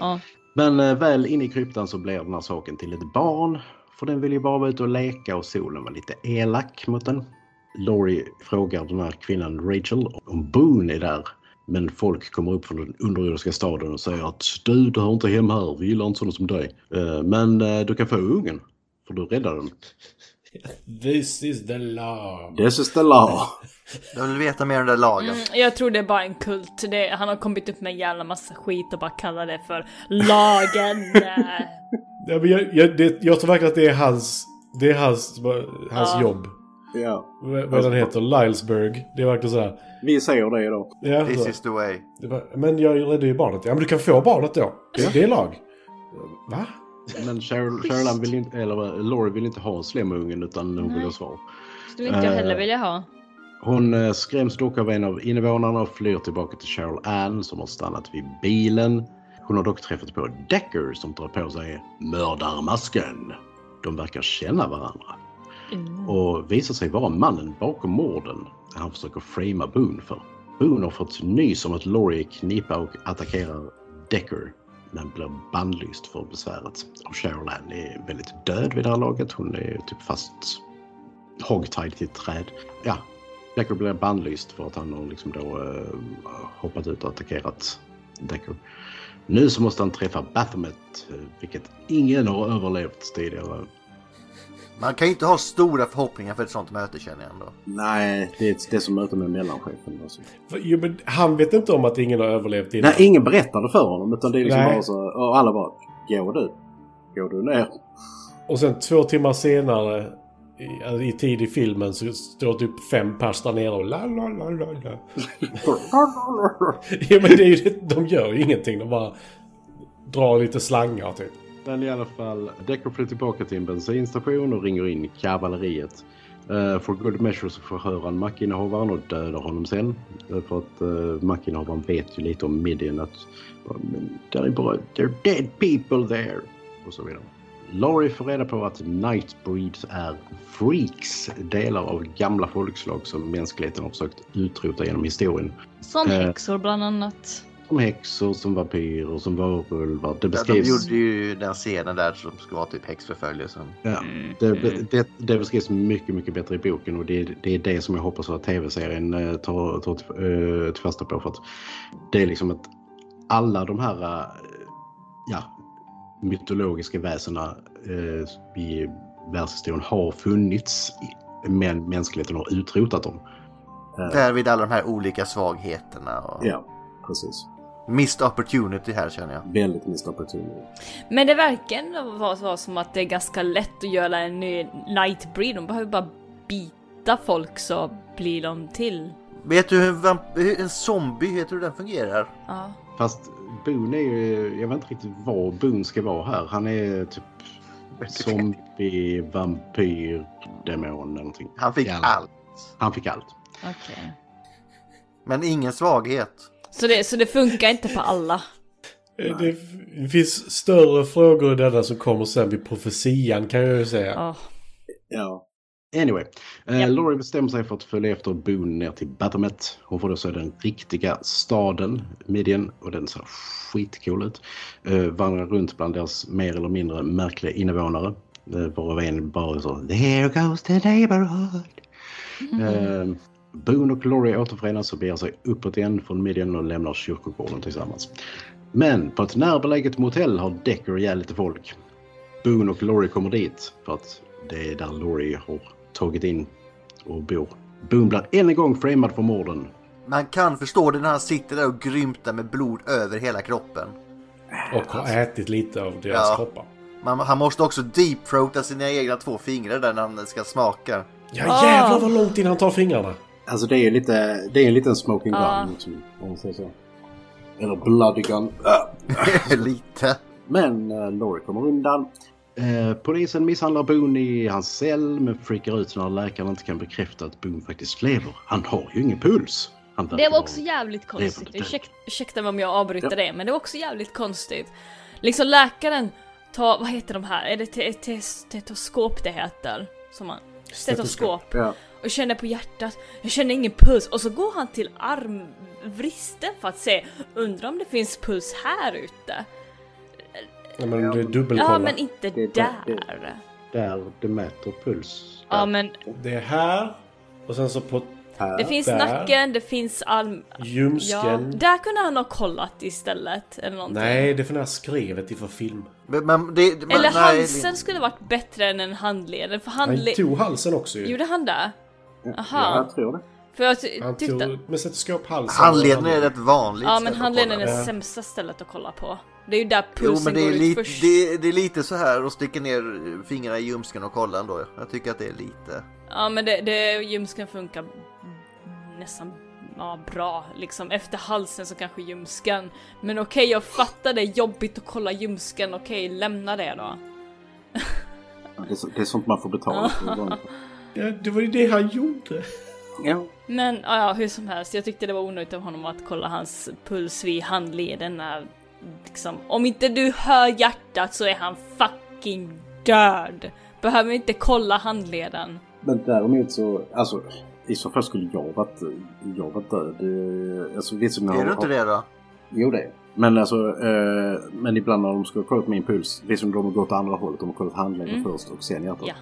Ja.
Men eh, väl inne i kryptan så blir den här saken till ett barn. För den vill ju bara vara ute och leka och solen var lite elak mot den. Laurie frågar den här kvinnan Rachel om Boone är där. Men folk kommer upp från den underjordiska staden och säger att du, du hör inte hem här, vi gillar inte sådana som dig. Eh, Men eh, du kan få ungen, för du räddar den.
This is the law.
This is the law.
Jag vill veta mer om den där lagen.
mm, jag tror det är bara en kult. Det, han har kommit upp med en jävla massa skit och bara kallar det för lagen.
Ja, men jag, jag, det, jag tror verkligen att det är hans, det är hans, hans
Ja.
jobb.
Ja.
V- Vad den heter, Lilesburg. Det är verkligen sådär.
Vi säger det då.
Ja,
This
så.
is the way.
Det var, men jag räddade ju barnet. Ja, men du kan få barnet då. Det, det är lag. Va?
Men Cheryl, Cheryl vill inte, eller eh, Laurie vill inte ha slemungen utan hon vill ha svar.
Skulle inte jag heller vilja ha.
Hon eh, skräms dock av en av invånarna och flyr tillbaka till Cheryl Ann som har stannat vid bilen. Hon har dock träffat på Decker som drar på sig mördarmasken. De verkar känna varandra och visar sig vara mannen bakom morden han försöker framea Boone för. Boone har fått nys om att Laurie är knipa och attackerar Decker men blir bannlyst för besväret. Och Cheryl Ann är väldigt död vid det här laget. Hon är typ fast hogtied till ett träd. Ja, Decker blir bannlyst för att han har liksom då eh, hoppat ut och attackerat Decker. Nu så måste han träffa Baphomet, eh, vilket ingen har överlevt tidigare.
Man kan ju inte ha stora förhoppningar för ett sånt möte känner jag ändå.
Nej, det är, det är som möten med mellanchefen. Alltså.
För- Jo, men han vet inte om att ingen har överlevt innan.
Nej, ingen berättade för honom. Utan det är liksom
Nej.
bara så. Och alla bara. Går du? Går du ner?
Och sen två timmar senare i, i tid i filmen så står typ fem pers där nere och la la la la la. Jo men det är ju det, de gör ju ingenting. De bara drar lite slangar typ.
Men i alla fall, Decker flyr tillbaka till en bensinstation och ringer in kavalleriet. Uh, for good measure så förhör han mackinnehavaren och dödar honom sen. Eh, för att uh, mackinnehavaren vet ju lite om Midian att "Ja, men där är bara “They're dead people there” och så vidare. Laurie får reda på att Nightbreeds är freaks, delar av gamla folkslag som mänskligheten har försökt utrota genom historien.
Som
Eh.
häxor bland annat.
Som häxor, som vampyrer, som varulvar. Det
Ja, de
beskrivs...
gjorde ju den scenen där som ska vara typ häxförföljelsen.
Ja,
Mm,
det, det, det beskrivs mycket, mycket bättre i boken och det, det är det som jag hoppas att tv-serien eh, tar, tar till, eh, till fasta på. För att det är liksom att alla de här eh, ja, mytologiska väsena eh, i världshistorien har funnits i- men mänskligheten har utrotat dem.
Därvid alla de här olika svagheterna och...
Ja, precis.
Missed opportunity här känner jag.
Väldigt missed opportunity.
Men det verkar ändå vara vara som att det är ganska lätt att göra en ny nightbreed. De behöver bara bita folk så blir de till.
Vet du hur en, vamp- hur en zombie, heter hur den fungerar?
Ja.
Fast Boone är ju, jag vet inte riktigt vad Boone ska vara här. Han är typ zombie, vampyr, demon eller någonting.
Han fick
Jävlar.
allt.
Han fick allt.
Okej.
Men ingen svaghet.
Så det, så det funkar inte på alla.
Eh, Det f- finns större frågor i denna som kommer sen vid profetian kan jag ju säga.
Ja.
Ja.
Anyway, eh,
Japp.
Laurie bestämmer sig för att följa efter Boone ner till Batamet. Hon får då se den riktiga staden, Midien, och den ser skitcool ut. Eh, vandrar runt bland deras mer eller mindre märkliga invånare. Eh, varav en bara så “There goes the neighborhood”. Eh, Boone och Laurie återförenas och beger sig uppåt igen från Midien och lämnar kyrkogården tillsammans. Men på ett närbeläget motell har Decker ihjäl lite folk. Boone och Laurie kommer dit för att det är där Laurie har tagit in och bor. Boone blir än en gång framad för morden.
Man kan förstå det när han sitter där och grymtar med blod över hela kroppen.
Och har ätit lite av deras
Ja.
kroppar.
Man, han måste också deepthroata sina egna två fingrar där när han ska smaka.
Ja
Ah.
jävlar vad långt innan han tar fingrarna.
Alltså det är ju lite, det är en liten smoking gun
Ja.
liksom, om man säger så. Eller bloody gun. Ah.
Lite.
Men eh, Laurie kommer undan.
Eh, polisen misshandlar Boone i hans cell men freakar ut när läkaren inte kan bekräfta att Boone faktiskt lever. Han har ju ingen puls. Han
Det
verkar
var
vara-
också jävligt konstigt.
det-
Ursäk, ursäkta mig om jag avbryter det, men det var också jävligt konstigt. Liksom läkaren tar, vad heter de här? Är det te- te- stetoskop det heter? Som man, stetoskop.
Ja.
Och känner på hjärtat, jag känner ingen puls. Och så går han till armvristen för att se, undrar om det finns puls här ute?
Ja, men det
Ja,
är dubbelkolla.
men inte
Det är där- det-
där.
Där det mäter puls.
Ja, men
Det är här och sen så på
det finns
där.
nacken, det finns arm... Ja,
ljumsken.
där kunde han ha kollat istället eller någonting.
Nej, det är för det här skrevet i för film.
Men, men det, men,
Eller
nej,
halsen skulle varit bättre än en handled. För
Han
handled...
tog halsen också ju.
Gjorde han det?
Oh, Ja,
Aha.
jag tror det.
För jag ty-
Han
tyckte...
tog med stetoskop halsen.
Handleden är rätt vanligt.
Ja
ställe
men
att
handleden
kolla.
är
Ja.
det sämsta stället att kolla på. Det är ju där
Jo
pulsen
men det är,
går ut
lite,
först.
det, det är lite så här och sticker ner fingrarna i ljumsken och kollar ändå. Jag tycker att det är lite...
Ja men det, det ljumsken funkar nästan ja, bra liksom. Efter halsen så kanske ljumsken. Men okej jag fattar det är jobbigt att kolla ljumsken. Okej lämna det då.
Det är, så- det är sånt man får betala för.
Ja, det var ju det han gjorde.
ja.
Men ja, ja, hur som helst, jag tyckte det var onödigt av honom att kolla hans puls vid handleden när liksom, om inte du hör hjärtat så är han fucking död. Behöver inte kolla handleden.
Men däremot så, alltså i så fall skulle jag varit, jag varit död. Det- Alltså, visst som jag
Är
har-
du inte det då?
Jo det är jag. Men alltså, eh, men ibland när de ska kolla på min puls, det är som de har gått andra hållet. De har kollat handleden
Mm.
först och sen hjärtat.
Ja.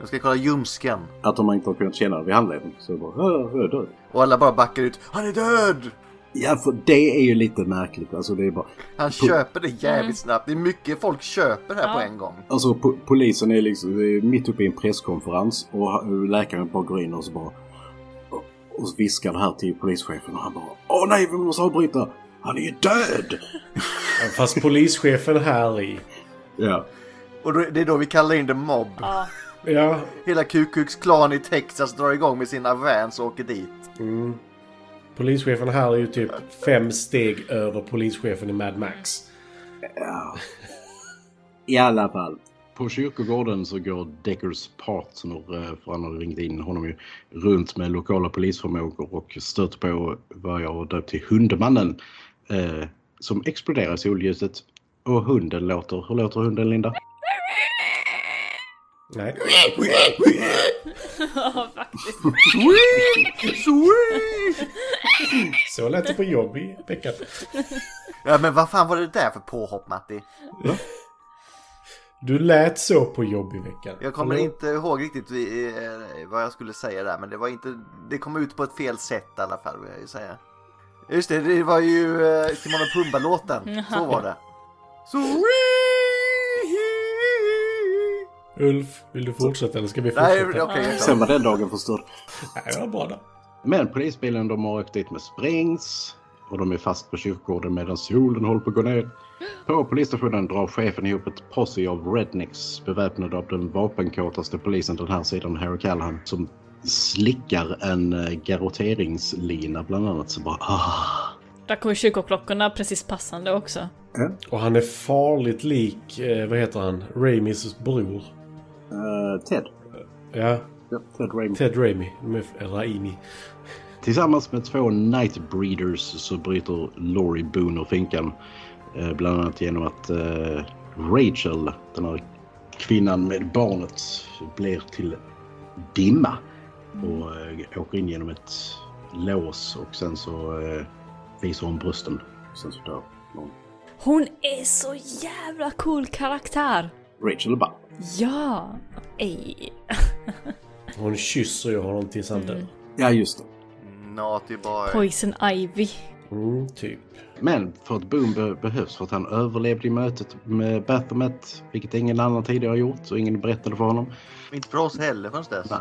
Jag ska kolla ljumsken.
Att de inte har kunnat känna det vid handleden. Så bara, "Åh, jag är död.
Och alla bara backar ut. Han är död!
Ja, för det är ju lite märkligt. Alltså det är bara...
Han köper det jävligt snabbt. Det är mycket folk köper här på en gång.
Alltså po- polisen är liksom det är mitt uppe i en presskonferens och ha- läkaren bara går in och så bara... och- Och så viskar det här till polischefen och han bara Åh nej, vi måste avbryta! Han är ju död!
Fast polischefen här i.
Ja.
Och då, det är då vi kallar in The Mob.
Ja,
Ja,
Hela Ku Klux Klan i Texas drar igång med sina vans och åker dit.
Mm. polischefen här är ju typ fem steg över polischefen i Mad Max.
I alla fall.
På kyrkogården så går Deckers partner, eh, för han har ringt in honom ju, runt med lokala polisförmågor och stöter på vad jag har döpt till Hundmannen eh, som exploderar i solljuset. Och hunden låter, hur låter hunden Linda?
Nej.
ja faktiskt.
Så lät det på jobb i veckan.
Ja men vad fan var det där för påhopp Matti?
Du lät så på jobb i veckan.
Jag kommer
Förlåt.
inte ihåg riktigt vi, eh, vad jag skulle säga där men det var inte... Det kom ut på ett fel sätt i alla fall vill jag ju säga. Just det, det var ju eh, Timon och Pumba-låten. Så var det. Så...
Ulf, vill du fortsätta eller ska vi
Nej,
fortsätta?
okej. jag tar
Sen
det.
var den dagen förstörd.
Nej, det var bra då.
Men polisbilen de har åkt dit med sprängs och de är fast på kyrkogården medan solen håller på att gå ner. På polisstationen drar chefen ihop ett posse av rednecks beväpnade av den vapenkåtaste polisen den här sidan, Harry Callahan, som slickar en eh, garroteringslina bland annat. Så bara ah.
Där kommer kyrkoklockorna precis passande också.
Och han är farligt lik, eh, vad heter han, Raimis bror.
Eh, Ted.
Ja,
Ja, Ted Raymond.
Ted Raimi. De är- Raimi.
Tillsammans med två Nightbreeders så bryter Laurie Boone ur finkan. eh, Bland annat genom att eh, Rachel, den här kvinnan med barnet, blir till dimma. Och eh, åker in genom ett lås och sen så eh, visar hon brösten.
Sen så dör någon.
Hon är så jävla cool karaktär!
Rachel bara
Ja! Ej.
Hon kysser ju honom tills
Mm.
han dör.
Ja, just det.
Naughty boy.
Poison Ivy.
Mm, typ.
Men för att Boom be- behövs för att han överlevde i mötet med Baphomet, vilket ingen annan tidigare har gjort och ingen berättade för honom.
Inte för oss heller förrän dess.
Nej.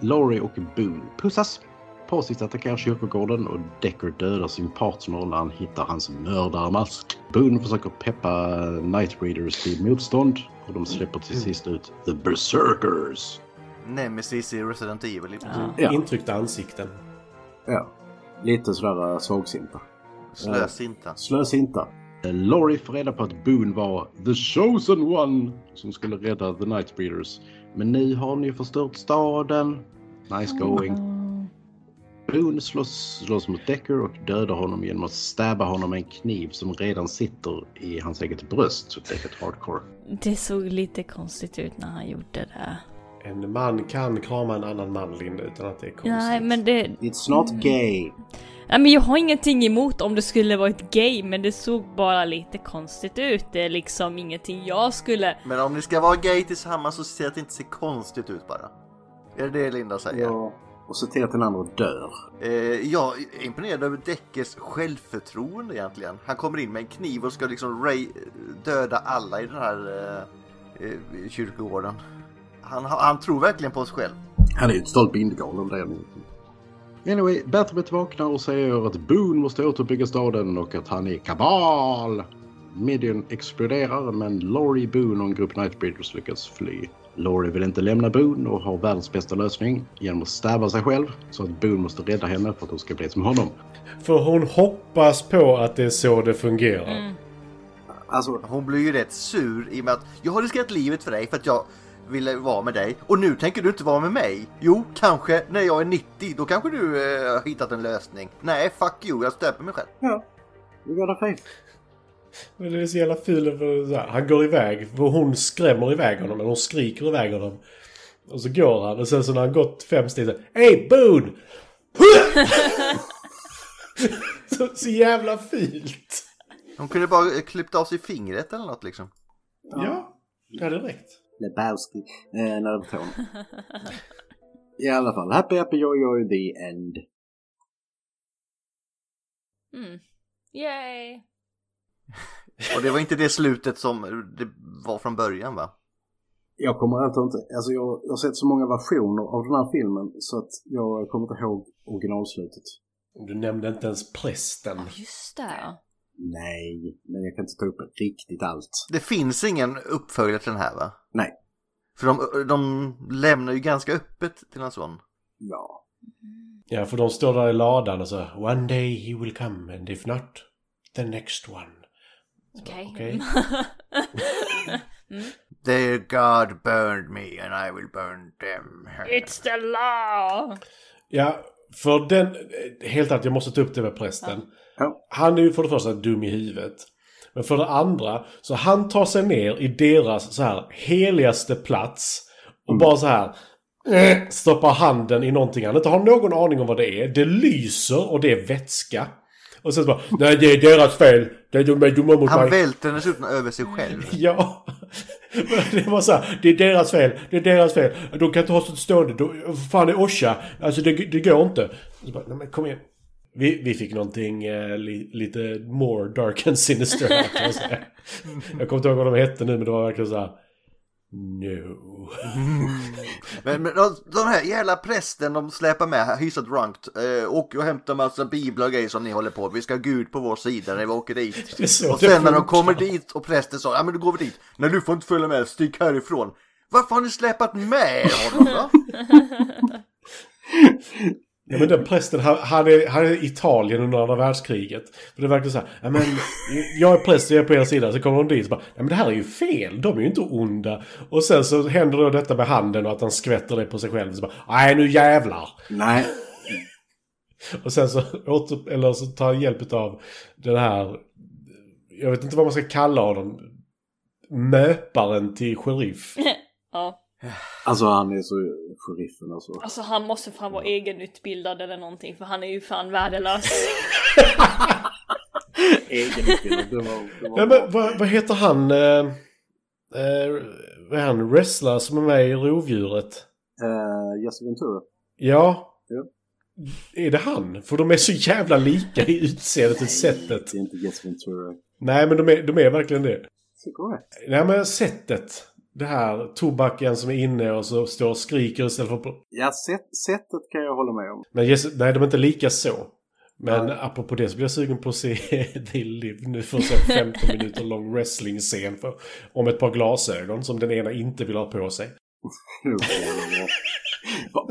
Laurie och Boone pussas. Pazit attackerar kyrkogården och Decker dödar sin partner när han hittar hans mördarmask. Boone försöker peppa Nightbreeders till motstånd och de släpper till sist ut The Berserkers.
Nemesis i Resident Evil i princip.
Ja.
Ja.
Intryckta ansikten.
Ja. Lite sådär äh, svagsinta.
Slösinta.
Slösinta.
Laurie får reda på att Boone var The Chosen One som skulle rädda The Nightbreeders. Men nu har ni förstört staden. Nice going. Boone slåss, slåss mot Decker och dödar honom genom att stabba honom med en kniv som redan sitter i hans eget bröst. Så det är ett hardcore.
Det såg lite konstigt ut när han gjorde det.
En man kan krama en annan man, Linda, utan att det är konstigt.
Nej, men det...
It's not gay.
Nej, men jag har ingenting emot om det skulle vara ett gay, men det såg bara lite konstigt ut. Det är liksom ingenting jag skulle...
Men om ni ska vara gay tillsammans så se att det inte ser konstigt ut bara. Är det det Linda säger?
Och se till att den andra dör.
Eh, jag är imponerad över Deckers självförtroende egentligen. Han kommer in med en kniv och ska liksom ray- döda alla i den här eh, eh, kyrkogården. Han, han tror verkligen på sig själv.
Han är ju totalt bindgalen om det.
Anyway, Bathomet vaknar och säger att Boone måste återbygga staden och att han är kabal. Midian exploderar men Laurie, Boone och en grupp Nightbreeders lyckas fly. Laurie vill inte lämna Boone och har världens bästa lösning genom att stabba sig själv så att Boone måste rädda henne för att hon ska bli som honom.
För hon hoppas på att det är så det fungerar.
Mm.
Alltså,
Hon blir ju rätt sur i och med att jag har riskerat livet för dig för att jag ville vara med dig och nu tänker du inte vara med mig. Jo, kanske när jag är 90, då kanske du eh, har hittat en lösning. Nej, fuck you, jag stöper mig själv.
you got a face.
Men det är så jävla ful. för så här, Han går iväg. för Hon skrämmer iväg honom. Eller hon skriker iväg honom. Och så går han. Och sen så när han gått fem steg så Hej Boone! så, så jävla fult.
Hon kunde bara eh, klippt av sig fingret eller något liksom.
Ja, det hade räckt.
Lebowski. Eh, när det var ton. I alla fall, happy happy joy joy the end.
Mm. Yay!
Och det var inte det slutet som eh, det var från början va?
Jag kommer inte, inte alltså jag, jag har sett så många versioner av den här filmen så att jag kommer inte ihåg originalslutet.
Du nämnde inte ens prästen.
Just det.
Nej, men jag kan inte ta upp riktigt allt.
Det finns ingen uppföljare till den här va?
Nej.
För de, eh, de lämnar ju ganska öppet till en sån.
Ja.
Ja, för de står där i ladan och så One day he will come and if not, the next one.
Okej. Mm.
Okej.
Their God burned me and I will burn them.
It's the law.
Ja, för den... eh, Helt att jag måste ta upp det med prästen.
Ja.
Han är ju för det första dum i huvudet. Men för det andra, så han tar sig ner i deras så här heligaste plats och bara så här eh, stoppar handen i någonting han inte har någon aning om vad det är. Det lyser och det är vätska. Och sen så bara Nej, det är deras fel! Det är de är dumma mot
Han
mig.
välter dessutom över sig själv.
Ja. Det var så här, det är deras fel, det är deras fel. De kan inte ha sånt stående. De, fan, det är Osha. Alltså det, det går inte. Så bara, nej men kom igen. Vi, vi fick någonting eh, li, lite more dark and sinister. här, kan jag, säga. jag kommer inte ihåg vad de hette nu, men det var verkligen så här. No.
Men, men de, de här jävla prästen de släpar med här, hyfsat drunkt. Eh, och jag hämtar massa biblar och grejer som ni håller på. Vi ska ha Gud på vår sida när vi åker dit.
Det är så
och
det
sen när de
funkar.
kommer dit och prästen sa, ja men då går vi dit. Nej du får inte följa med, stick härifrån. Varför har ni släpat med honom då?
Ja, men den prästen, han, han, är, han är i Italien under andra världskriget. För det verkar så här, ja, men, jag är präst och jag är på er sida. Så kommer de dit och bara, ja, men det här är ju fel, de är ju inte onda. Och sen så händer då detta med handen och att han skvätter det på sig själv. Så bara, nej nu jävlar.
Nej.
Och sen så, åter, eller så tar han hjälp av den här, jag vet inte vad man ska kalla honom, möparen till sheriff.
Ja.
Alltså han är så sheriffen alltså.
Alltså han måste fan vara egenutbildad eller någonting för han är ju fan värdelös.
Egenutbildad. Det var, det var
Nej, men vad, vad heter han, eh, eh, vad är han, wrestler som är med i Rovdjuret?
Eh, Jesse Ventura.
Ja.
Ja.
Är det han? För de är så jävla lika i utseendet och sättet.
Det är inte Jesse Ventura.
Nej, men de är, de är verkligen det.
Tycker du det?
Nej, men sättet. Det här tobaken som är inne och så står och skriker istället för... på-
Ja, sätt, sättet kan jag hålla med om.
Men Jesse, nej, de är inte lika så. Men apropå det så blir jag sugen på att se The Live nu för att se en 15 minuter lång wrestling-scen för, om ett par glasögon som den ena inte vill ha på sig.
Nu får jag det bra.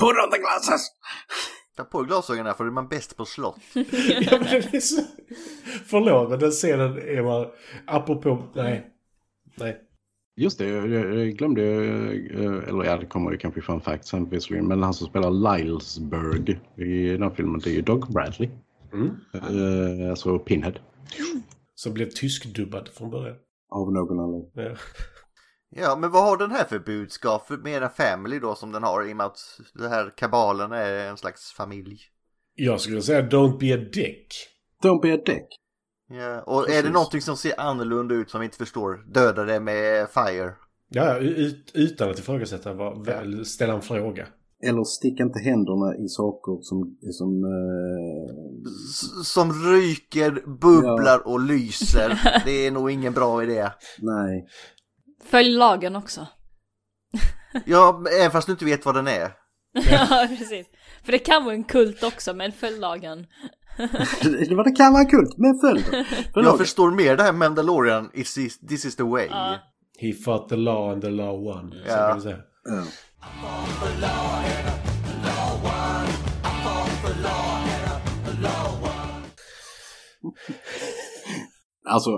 Put on the glasses!
Ta på glasögonen för då är man bäst på slott.
ja, men det är så... Förlåt, men den scenen är man... Apropå... Nej. Nej.
Just det, jag, jag jag glömde, eh, eller ja, det kommer ju kanske i fun fact sen visserligen, men han som spelar Lilesburg i den här filmen, det är ju Doug Bradley.
Mm.
Eh, Alltså Pinhead.
Som blev tyskdubbad från början.
Av någon anledning.
Ja.
Ja, men vad har den här för budskap för mera family då som den har i och med att det här kabalen är en slags familj?
Jag skulle säga Don't be a dick.
Don't be a dick.
Ja, och är det
Precis.
någonting som ser annorlunda ut som vi inte förstår, döda det med fire.
Ja, ja, ut, utan att ifrågasätta, vad, väl, ställa en fråga.
Eller stick inte händerna i saker som... som eh,
S- Som ryker, bubblar och lyser. Det är nog ingen bra idé.
nej.
Följ lagen också.
Ja, även fast du inte vet vad den är.
ja, precis. För det kan vara en kult också, men följ lagen.
Det var det kan vara kul, men följ det. Följ
Jag
det.
förstår mer det här Mandalorian, It's is, this is the way.
Ja.
He fought the law and the law won. så
Ja.
kan vi säga.
Ja. Alltså,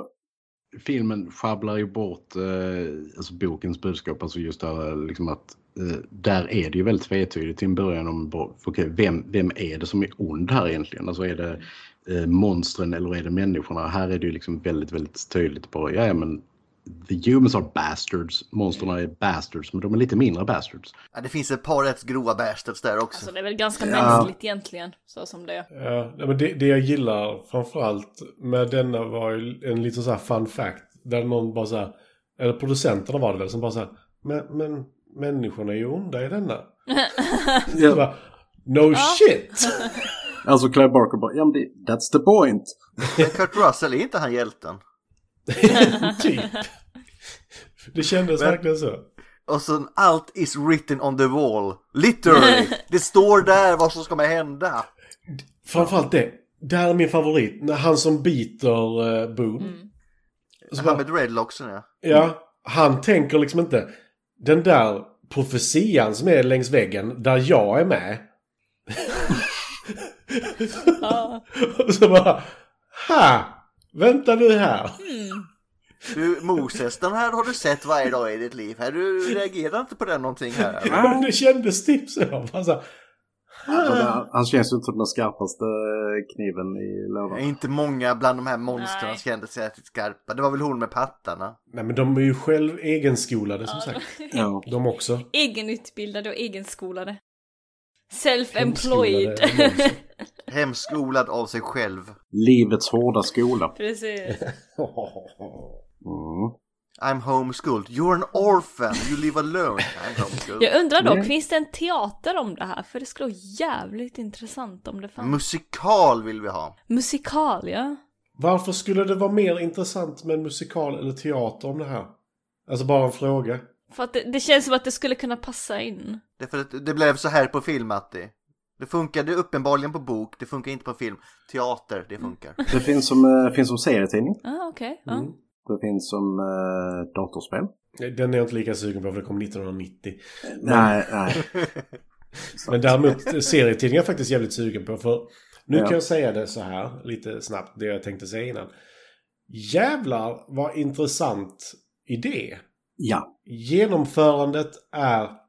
filmen sjabblar ju bort eh, alltså bokens budskap, alltså just där eh, liksom att eh, där är det ju väldigt tvetydigt till en början om bara, okej, vem, vem är det som är ond här egentligen? Alltså är det eh, monstren eller är det människorna? Här är det ju liksom väldigt, väldigt tydligt bara, ja ja, men the humans are bastards, monsterna är bastards, men de är lite mindre bastards.
Ja, det finns ett par rätt grova bastards där också.
Alltså det är väl ganska mänskligt egentligen, så som det är.
Ja, nej, men det, det jag gillar framförallt med denna var ju en liten så här fun fact. Där någon bara så här, eller producenterna var det väl, som bara så här, men, men människorna är ju onda i denna. Så bara, no shit!
alltså Clive Barker bara, ja men det, that's the point.
Men Kurt Russell, är inte han hjälten?
typ. Det kändes
Men-
verkligen så.
Och sen allt is written on the wall. Literally! Det står där vad som kommer hända.
Framförallt det. Det här är min favorit. När han som biter uh, Boom. Så
Han
bara,
med dreadlocksen ja.
ja, han tänker liksom inte den där profetian som är längs väggen där jag är med.
Ja.
Och så bara, ha! Vänta nu här.
Du Moses, den här har du sett varje dag i ditt liv. Här, du reagerar inte på den någonting här. eller?
Men det kändes typ så. Bara så här,
Alltså, det- han känns ju inte som den skarpaste kniven i
Det är
lådan.
Inte många bland de här monstren
Nej.
kände sig att skarpa. Det var väl hon med pattarna.
Nej men de är ju själv egenskolade som sagt.
Ja.
De också.
Egenutbildade och egenskolade.
Hemskolade
Self-employed.
är de också.
Hemskolad av sig själv.
Livets hårda skola.
Precis.
Mm.
I'm homeschooled. You're an orphan. You live alone. I'm homeschooled.
Jag undrar
Mm.
dock, finns det en teater om det här? För det skulle vara jävligt intressant om det fanns.
Musikal vill vi ha.
Musikal, ja.
Varför skulle det vara mer intressant med en musikal eller teater om det här? Alltså bara en fråga.
För att det, det känns som att det skulle kunna passa in.
Därför att det blev så här på film, Matti. Det funkade uppenbarligen på bok, det funkar inte på film. Teater, det funkar.
Det finns som, eh, finns som serietidning.
Ah, okej. ja.
Mm.
Det finns som eh, datorspel.
Den är jag inte lika sugen på för det kom 1990.
Nej, nej.
Men däremot serietidningar är jag faktiskt jävligt sugen på. För nu
Ja.
kan jag säga det så här lite snabbt, det jag tänkte säga innan. Jävlar vad intressant idé.
Ja.
Genomförandet är...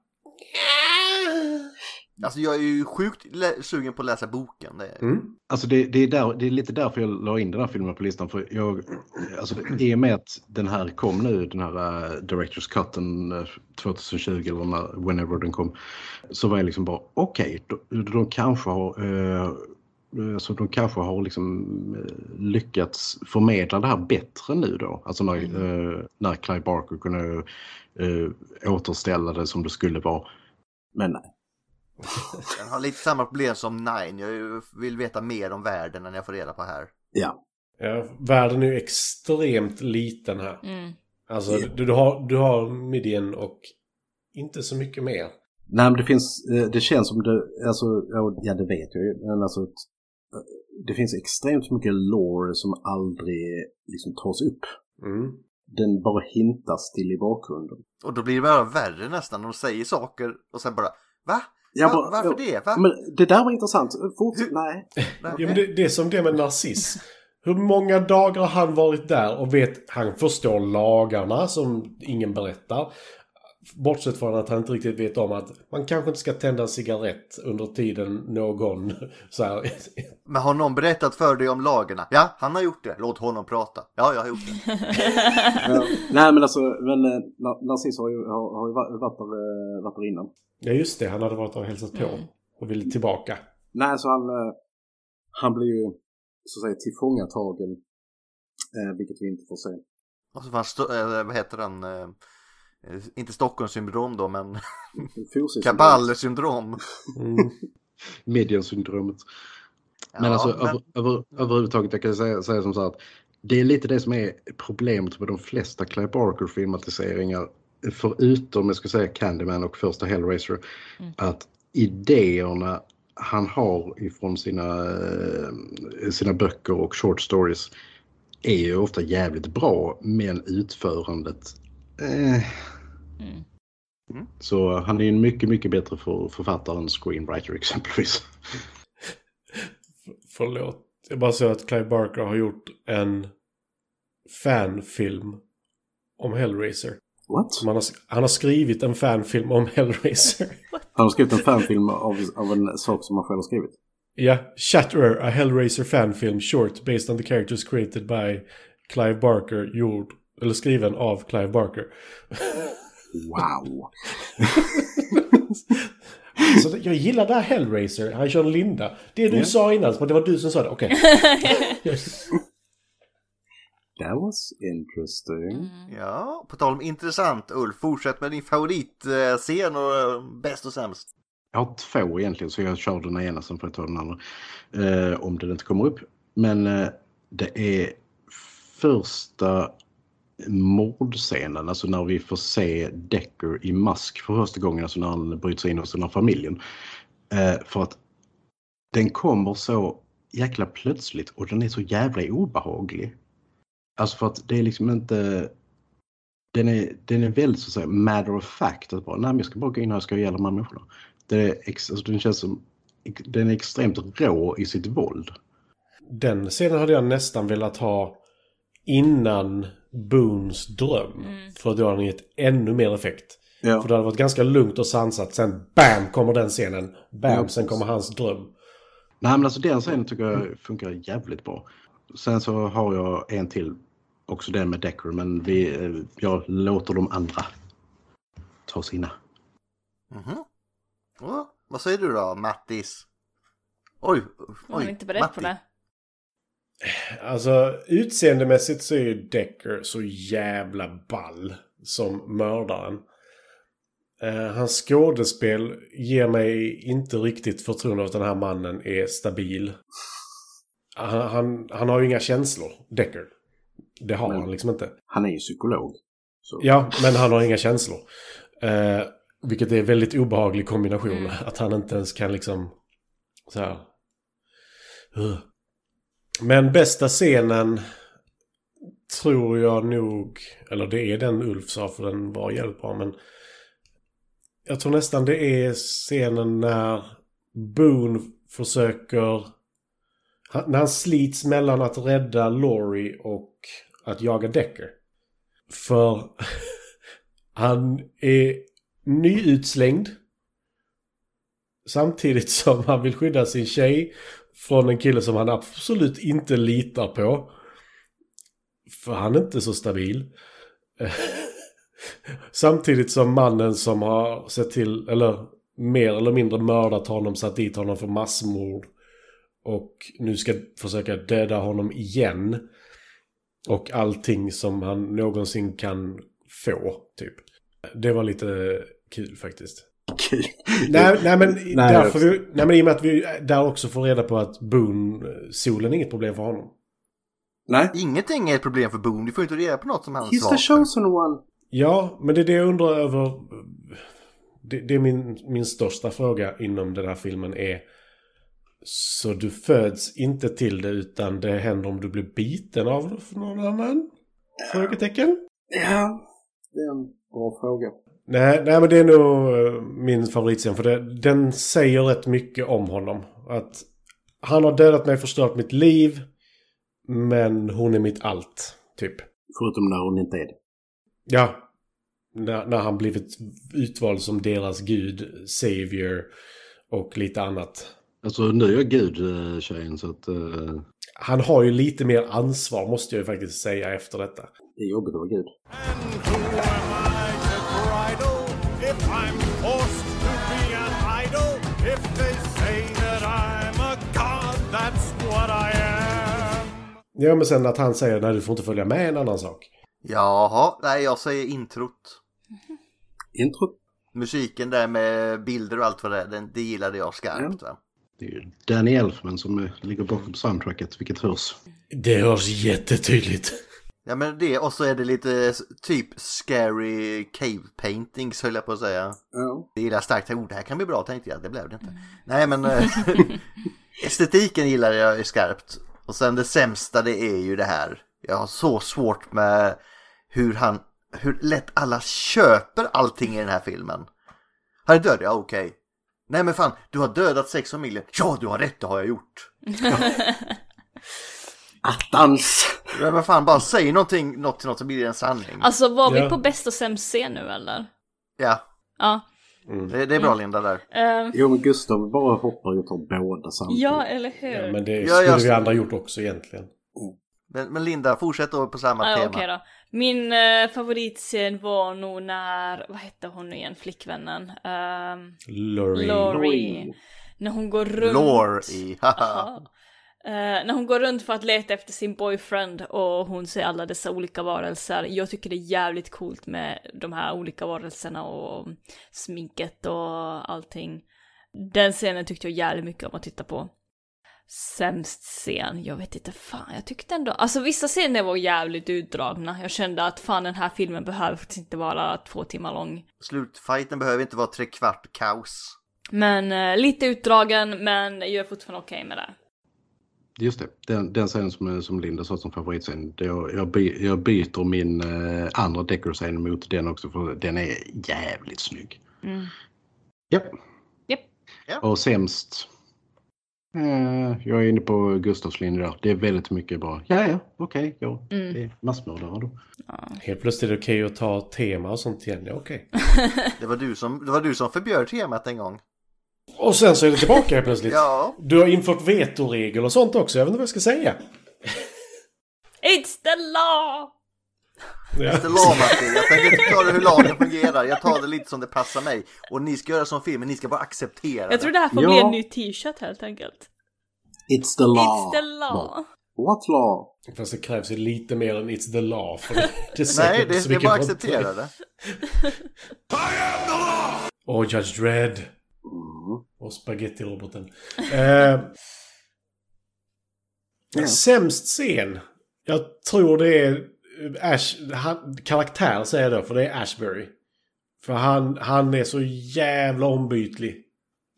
Alltså jag är ju sjukt lä- sugen på att läsa boken. Det är...
Mm.
Alltså det, det, är där, det är lite därför jag la in den här filmen på listan. För jag, alltså I och med att den här kom nu, den här eh, Directors Cutten eh, 2020 eller när, whenever den kom. Så var jag liksom bara okej, de, de kanske har eh, så de kanske har liksom eh, lyckats förmedla det här bättre nu då. Alltså när,
Mm.
eh, när Clive Barker kunde eh, återställa det som det skulle vara.
Men nej.
Den har lite samma problem som Nine. Jag ju- vill veta mer om världen än jag får reda på här.
Ja.
Ja, världen är ju extremt liten här.
Mm.
Alltså du, du, har, du har midjan och inte så mycket mer.
Nej men det finns, eh, det känns som det, alltså, ja, ja det vet jag ju, men alltså att, eh, det finns extremt mycket lore som aldrig liksom tas upp.
Mm.
Den bara hintas till i bakgrunden.
Och då blir det bara värre nästan. De säger saker och sen bara Va?
Jag
Va?
bara-
Varför
jag-
det? Va?
Men det där var intressant. Fortsätt,
Hur-
nej.
Nej.
Ja, men det, det är som det med narciss. Hur många dagar har han varit där och vet, han förstår lagarna som ingen berättar. Bortsett från att han inte riktigt vet om att man kanske inte ska tända en cigarett under tiden någon så här.
Men har någon berättat för dig om lagarna? Ja, han har gjort det. Låt honom prata. Ja, jag har gjort det.
Ja. nej men alltså, men eh, Na- Narciss har ju, har, har ju va- varit, där, eh, varit där innan.
Ja just det, han hade varit och hälsat på
Mm.
och ville tillbaka.
Nej, så han, eh, han blir ju så att säga tillfångatagen. eh, Vilket vi inte får se.
Och så fanns, sto- eh, vad heter den? Eh, eh, Inte Stockholmssyndrom då, men
Fosis-
Kabalsyndrom.
Mm.
Mediensyndromet.
Ja,
Men alltså
men-
Över, över, överhuvudtaget, jag kan säga, säga som så här att det är lite det som är problemet med de flesta Clive Barker-filmatiseringar, förutom jag ska säga Candyman och första Hellraiser,
Mm.
att idéerna han har ifrån sina, eh, sina böcker och short stories är ju ofta jävligt bra, men utförandet... Eh.
Mm.
Mm.
Så han är ju en mycket, mycket bättre för, författare än screenwriter exempelvis.
Förlåt. Jag bara så att Clive Barker har gjort en fanfilm om Hellraiser.
What?
Som han, har, han har skrivit en fanfilm om Hellraiser.
Han har skrivit en fanfilm av, av en sak som han själv har skrivit.
Ja, Shatterer, a Hellraiser fanfilm short based on the characters created by Clive Barker, gjord, eller skriven av Clive Barker.
Wow!
Så det- jag gillar det här Hellraiser, han kör Linda. Det du sa innan, men det var du som sa det, okej.
That was interesting.
Mm. Ja, på tal om intressant Ulf, fortsätt med din favoritscen och eh, bäst och sämst.
Jag har två egentligen så jag kör den ena sen får jag ta den andra. Eh, om den inte kommer upp. Men eh, det är första mordscenen, alltså när vi får se Decker i mask för första gången, alltså när han bryter sig in hos den här familjen. Eh, för att den kommer så jäkla plötsligt och den är så jävla obehaglig. Alltså för att det är liksom inte den är, den är väldigt så att säga matter of fact. Att bara, nej men jag ska bara gå in här och ska ihjäl de här människorna. Det är ex, alltså, den känns som, den är extremt rå i sitt våld.
Den scenen hade jag nästan velat ha innan Boons dröm. För då hade den gett ännu mer effekt.
Mm. Ja.
För det hade varit ganska lugnt och sansat. Sen BAM kommer den scenen. BAM,
Ja,
sen kommer hans dröm.
Nej men alltså den scenen tycker jag funkar jävligt bra. Sen så har jag en till, också den med Decker, men vi, eh, jag låter de andra ta sina.
Mhm. Ja, vad säger du då, Mattis? Oj,
Jag var
oj,
inte beredd på det.
Alltså utseendemässigt så är ju Decker så jävla ball som mördaren. Eh, hans skådespel ger mig inte riktigt förtroende att den här mannen är stabil. Han, han, han har ju inga känslor, Decker. Det har
Men-
han liksom inte.
Han är ju psykolog. Så.
Ja, men han har inga känslor. Eh, vilket är en väldigt obehaglig kombination. Att han inte ens kan liksom... Så här. Ugh. Men bästa scenen tror jag nog... Eller det är den Ulf sa, för den var jävligt bra, men... Jag tror nästan det är scenen när Boone försöker... han- När han slits mellan att rädda Laurie och att jaga Decker. För han är nyutslängd. Samtidigt som han vill skydda sin tjej från en kille som han absolut inte litar på. För han är inte så stabil. Samtidigt som mannen som har sett till, eller mer eller mindre mördat honom, satt dit honom för massmord. Och nu ska försöka döda honom igen. Och allting som han någonsin kan få, typ. Det var lite kul faktiskt.
Kul.
Nej, nej, men, i-
Nej,
därför
jag-
vi, nej men i och med att vi där också får reda på att Boone, eh, solen är inget problem för honom.
Nej.
Ingenting är ett problem för Boone. Du får inte reda på något som han
He's the chosen one.
Ja, men det är det jag undrar över. Det, det är min, min största fråga inom den här filmen är. Så du föds inte till det utan det händer om du blir biten av någon annan? Frågetecken?
Ja. Det är en bra fråga.
Nej, nej, men det är nog eh, min favoritscen. För det, den säger rätt mycket om honom. Att han har dödat mig, förstört mitt liv. Men hon är mitt allt, typ.
Förutom när hon inte är det.
Ja. När, när han blivit utvald som deras gud, savior och lite annat.
Alltså nu är jag gud eh, tjejen så att... eh,
Han har ju lite mer ansvar, måste jag ju faktiskt säga efter detta.
Det är jobbigt att vara gud.
Who am I to bridle if I'm forced to be an idol? If they say that I'm a god, that's what I am.
Ja, men sen att han säger nej, du får inte följa med är en annan sak.
Jaha, nej jag säger introt.
Intro.
Musiken där med bilder och allt vad det är, den, det gillade jag skarpt. Va?
det är ju Danny Elfman som eh, ligger bakom soundtracket, vilket hörs.
Det hörs jättetydligt.
Ja men det, och så är det lite s- typ scary cave paintings höll jag på att säga.
Ja.
Det gillar jag starkt. Oh, det här kan bli bra tänkte jag, det blev det inte.
Mm.
Nej men eh, estetiken gillar jag skarpt. Och sen det sämsta det är ju det här. Jag har så svårt med hur han, hur lätt alla köper allting i den här filmen. Han är död, ja okej. Nej men fan, du har dödat sex familjer. Ja, du har rätt, det har jag gjort.
Dans!
Ja, men fan, bara säg någonting, något till något så blir det en sanning.
Alltså var
Ja.
vi på bäst och sämst scen nu eller?
Ja,
Ja.
det, det är
mm.
bra Linda där.
Ehm,
Jo, men Gustav bara hoppar och tar båda samtidigt.
ja, eller hur?
Ja, men det
Ja,
skulle
jag-
vi andra gjort också egentligen.
Men, men Linda, fortsätt då på samma
Ah, Okej
tema.
då. Min eh, favoritscen var nog när, vad hette hon nu igen, flickvännen? Um,
Laurie.
Laurie. När hon går runt.
Lore i, haha.
Aha. Eh, när hon går runt för att leta efter sin boyfriend och hon ser alla dessa olika varelser. Jag tycker det är jävligt coolt med de här olika varelserna och sminket och allting. Den scenen tyckte jag jävligt mycket om att titta på. Sämst scen, jag vet inte fan, jag tyckte ändå, alltså vissa scener var jävligt utdragna. Jag kände att fan den här filmen behöver faktiskt inte vara två timmar lång.
Slutfighten behöver inte vara trekvart kaos.
Men eh, lite utdragen, men jag är fortfarande okej med det.
Just det, den, den scenen som, som Linda sa som favoritscen. det Jag, jag, by, jag byter min eh, andra deckarscen mot den också för den är jävligt snygg.
Mm.
Ja.
Japp.
Ja.
Och sämst. Eh, jag är inne på Gustavs linje där. Det är väldigt mycket bara, ja ja, okej, ja.
Mm.
Det är massmördare då.
Helt plötsligt är det okej att ta tema och sånt igen. Ja, okej.
Det var du som, det var du som förbjöd temat en gång.
Och sen så är det tillbaka helt plötsligt.
Ja.
Du har infört vetoregel och sånt också. Jag vet inte vad jag ska säga.
It's the law!
Ja.
Det lamat det. Jag tänker inte förklara hur lagen fungerar. Jag tar det lite som det passar mig. Och ni ska göra som filmen, ni ska bara acceptera
Jag tror
det.
det här får
Ja.
bli en ny t-shirt helt enkelt.
It's the law.
It's the law.
What law?
Fast det krävs ju lite mer än It's the law. För det, det är säkert
Nej,
inte
det,
så
det är
mycket
bara
bra-
acceptera det.
Och Judge Dredd.
Mm.
Och spagettiroboten. eh, Sämst scen. Jag tror det är eh, Ash, han, karaktär säger jag då, för det är Ashbury. För han, han är så jävla ombytlig.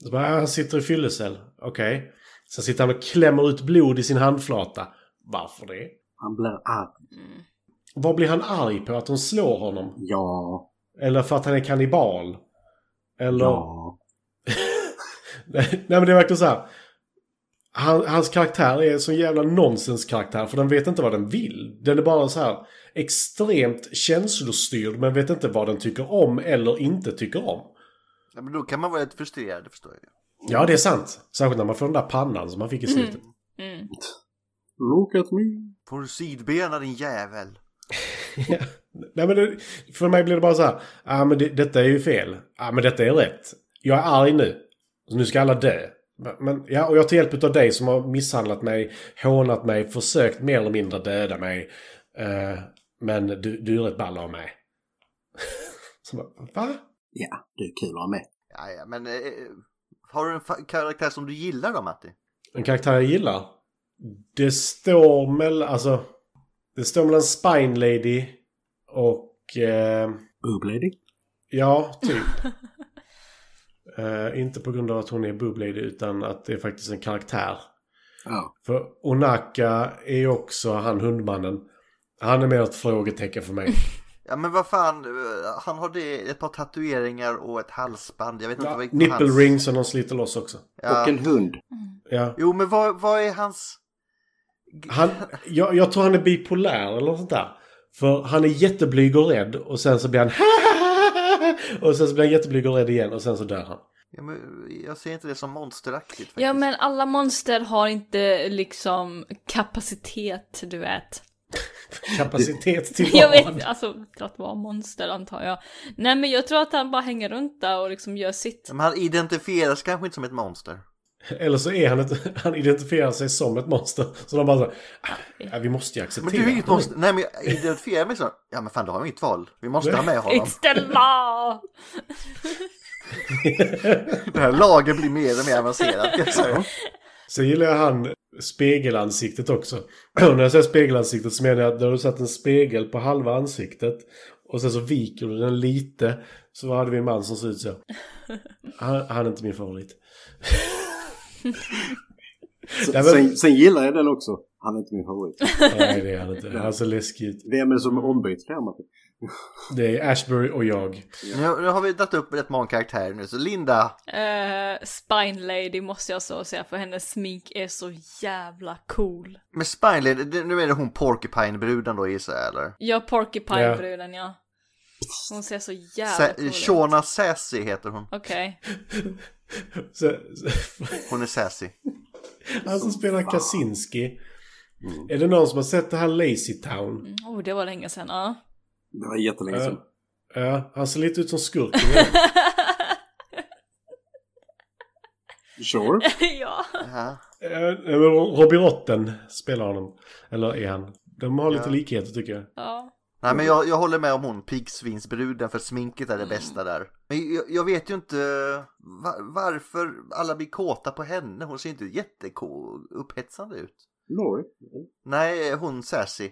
Så bara, ah, han sitter i fyllecell. Okej. Sen sitter han och klämmer ut blod i sin handflata. Varför det?
Han blir arg.
Vad blir han arg på? Att hon slår honom?
Ja.
Eller för att han är kannibal? Eller...
Ja.
Nej nej, men det är verkligen så här. Han, hans karaktär är en sån jävla nonsenskaraktär för den vet inte vad den vill. Den är bara så här extremt känslostyrd men vet inte vad den tycker om eller inte tycker om.
Ja, men då kan man vara lite frustrerad, det förstår jag.
Ja, det är sant. Särskilt när man får den där pannan som man fick i slutet.
Mm.
Look at me.
Får du sidbena din jävel?
Nej, men det, för mig blir det bara så här. ah, men det, detta är ju fel. ah, men detta är rätt. Jag är arg nu. Så nu ska alla dö. Men- Men, ja, och jag tar hjälp av dig som har misshandlat mig, hånat mig, försökt mer eller mindre döda mig. Eh, men du, du är rätt ball av mig. så bara, va?
Ja, det är kul att ha med.
Ja, ja, men eh, har du en fa- karaktär som du gillar då, Matti?
En karaktär jag gillar? Det står mellan, alltså... Det står mellan Spine Lady och... Eh,
Boob lady.
Ja, typ. Eh, inte på grund av att hon är bubblady utan att det är faktiskt en karaktär.
Ja.
För Onaka är ju också han hundmannen. Han är mer ett frågetecken för mig.
Ja, men vad fan, eh, han har det, ett par tatueringar och ett halsband. Jag vet inte
Ja,
vad vad
nipple
hans-
rings som de sliter loss också.
Ja.
Och en hund.
Ja.
Jo, men vad, vad är hans...
Han, jag, jag tror han är bipolär eller något sånt där. För han är jätteblyg och rädd och sen så blir han Och sen så blir han jätteblyg och rädd igen och sen så dör han.
Ja, men, jag ser inte det som monsteraktigt faktiskt.
Ja men alla monster har inte liksom kapacitet, du vet.
Kapacitet till
Jag
vad?
vet, alltså för att vara monster antar jag. Nej men jag tror att han bara hänger runt där och liksom gör sitt.
Men han identifieras kanske inte som ett monster.
Eller så är han ett, han identifierar sig som ett monster. Så de bara så, "Ah, ja, vi måste ju acceptera.
Men du är inget
honom."
monster. Nej, men jag identifierar mig som... Ja, men fan, då har vi inget val. Vi måste ha med honom.
It's the law!
Det här laget blir mer och mer avancerat. kan jag säga.
Sen gillar jag han spegelansiktet också. Och när jag säger spegelansiktet så menar jag att när du satt en spegel på halva ansiktet och sen så viker du den lite så hade vi en man som såg ut så. Han, han är inte min favorit.
Sen,
Nej, men-
sen, sen gillar jag den också. Han är inte min favorit.
Nej, det är han inte. Han ser läskig ut.
Vem är det som är ombytt här Matti?
Det är Ashbury och jag.
Nu, nu har vi dragit upp rätt många karaktärer nu, så Linda,
Eh, Spine Lady måste jag så säga för hennes smink är så jävla cool.
med Spineley, det- nu är det hon Porcupine-bruden då gissar jag eller?
Ja, Porcupine-bruden ja. Hon ser så jävla
Sa-
cool ut.
Shona Sassy heter hon.
Okej.
Så,
Hon är Sassy.
han som spelar Kaczynski.
Mm.
Är det någon som har sett det här Lazy Town?
Oh, det var länge sedan, ja.
Det var jättelänge sedan.
Ja, ja, han ser lite ut som skurken.
Sure.
ja.
Ja.
Ja, men Robbie Rotten spelar honom. Eller är han. De har lite
Ja.
likheter tycker jag.
ja.
Nej men jag, jag håller med om hon, pigsvinsbruden, för sminket är det bästa där. Men jag, jag vet ju inte var, varför alla blir kåta på henne, hon ser inte jätteupphetsande ut.
Lori.
Nej, hon Sassy.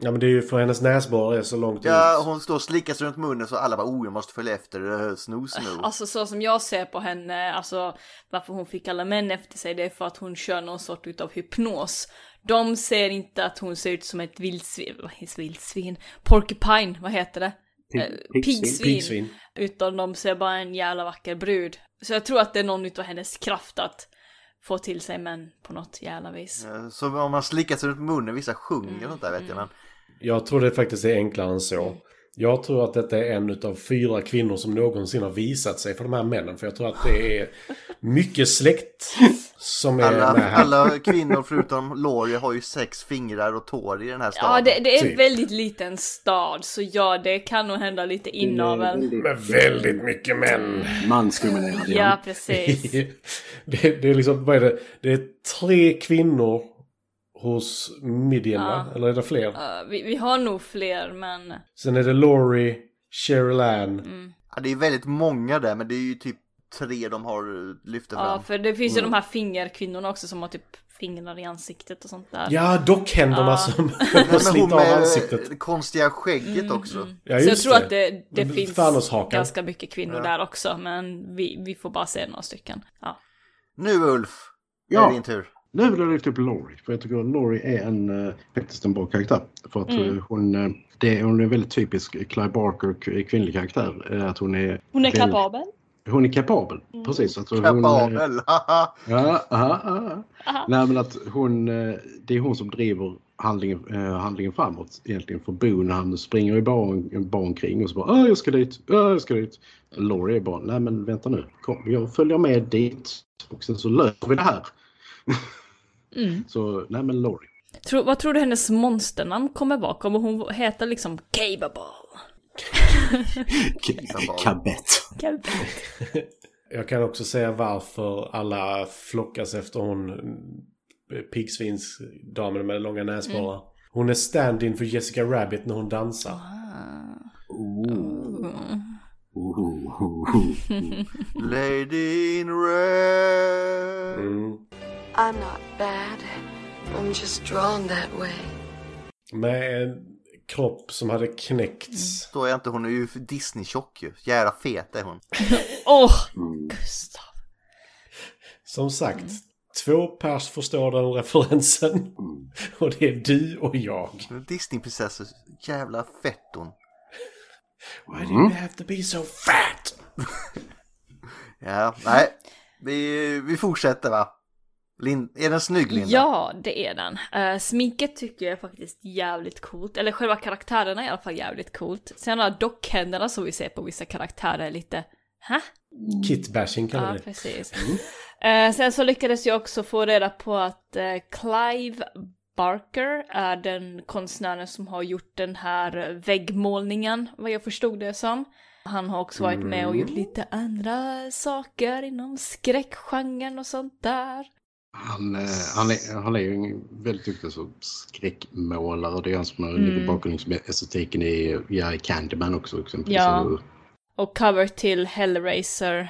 Ja men det är ju för hennes näsborrar är så långt
Ja,
ut.
hon står och slickar sig runt munnen så alla bara oh, jag måste följa efter, eh, snus nu.
Alltså så som jag ser på henne, alltså varför hon fick alla män efter sig, det är för att hon kör någon sort utav hypnos. De ser inte att hon ser ut som ett vildsvin, vad heter vildsvin? Porcupine, vad heter det? Eh, Pigsvin.
Pigsvin.
Utan de ser bara en jävla vacker brud. Så jag tror att det är någon utav hennes kraft att få till sig män på något jävla vis.
Eh, Så om man slickar sig runt munnen, vissa sjunger och sånt där vet jag men.
Jag tror det faktiskt är enklare än så. Jag tror att detta är en av fyra kvinnor som någonsin har visat sig för de här männen. För jag tror att det är mycket släkt som är med
Alla,
här.
alla kvinnor förutom Laurie har ju sex fingrar och tår i den här staden.
Ja, det, det är en
typ.
väldigt liten stad, så ja, det kan nog hända lite inavel.
Med väldigt mycket män.
Mansdominerad.
Ja, precis.
det, det är liksom, vad är det? Det är tre kvinnor hos Midian va? Eller är det fler?
Eh, vi, vi har nog fler, men...
Sen är det Laurie, Cheryl Ann.
Mm.
Ja, det är väldigt många där, men det är ju typ tre de har lyft fram.
Ja, för det finns
Mm.
ju de här fingerkvinnorna också som har typ fingrar i ansiktet och sånt där.
Ja, dockhänderna som får
Men hon
slita av
med
ansiktet.
det konstiga skägget
Mm.
också.
Ja,
så jag
just
tror att det, det
Men
finns
Thanos-hakan.
ganska mycket kvinnor där också, men vi, vi får bara se några stycken. Ja.
Nu Ulf,
Ja.
är det din tur.
Nu vill jag lyfta upp Laurie, för jag tycker att Laurie är en, eh, faktiskt en bra karaktär. För att
Mm.
eh, hon, eh, det, hon är en väldigt typisk Clive Barker k- kvinnlig karaktär. eh, Att hon är
Hon är
väldigt-
kapabel.
Hon är kapabel. Precis. Att hon,
Kapabel! haha.
Ja, aha, aha. Nej, men att hon, eh, det är hon som driver handlingen, eh, handlingen framåt egentligen. För Boone han springer ju bara, bara omkring och så bara "Ah, jag ska dit, ah, jag ska dit. Laurie är bara nej men vänta nu, kom jag följer med dit och sen så löser vi det här.
Mm.
Så nej men Laurie.
Tror- vad tror du hennes monsternamn kommer vara? Kommer hon heta liksom Capable?
K- Kabett.
Capable.
Jag kan också säga varför alla flockas efter hon eh, piggsvinsdamen med långa näsborrar.
Mm.
Hon är stand-in för Jessica Rabbit när hon dansar.
Mm.
Lady in red!
Mm.
I'm not bad. I'm just drawn that way.
Med en kropp som hade
Mm.
knäckts.
Så är inte, hon är ju för Disney-tjock ju. Jävla fet är hon.
Åh!
Mm.
Gustav.
Som sagt, två pers förstår den referensen. Och det är du och jag.
Disney-prinsessor, jävla fett hon.
Why do you have to be so fat?
Ja, nej. Vi, vi fortsätter va? Lin, är den snygg Linda?
Ja, det är den. Eh, sminket tycker jag är faktiskt jävligt coolt. Eller själva karaktärerna är i alla fall jävligt coolt. Sen de här dockhänderna som vi ser på vissa karaktärer är lite... Hä?
Kitbashing Mm. kallar
Ja,
vi det. Mm.
precis. Eh, sen så lyckades jag också få reda på att eh, Clive Barker är den konstnären som har gjort den här väggmålningen, vad jag förstod det som. Han har också varit med och gjort
Mm.
lite andra saker inom skräckgenren och sånt där.
Han, eh, han, är, han är ju en väldigt duktig så skräckmålare. Det är han som mm. ligger bakom liksom, estetiken i, ja, i Candyman också. liksom, Exempelvis.
Ja.
Så-
Och cover till Hellraiser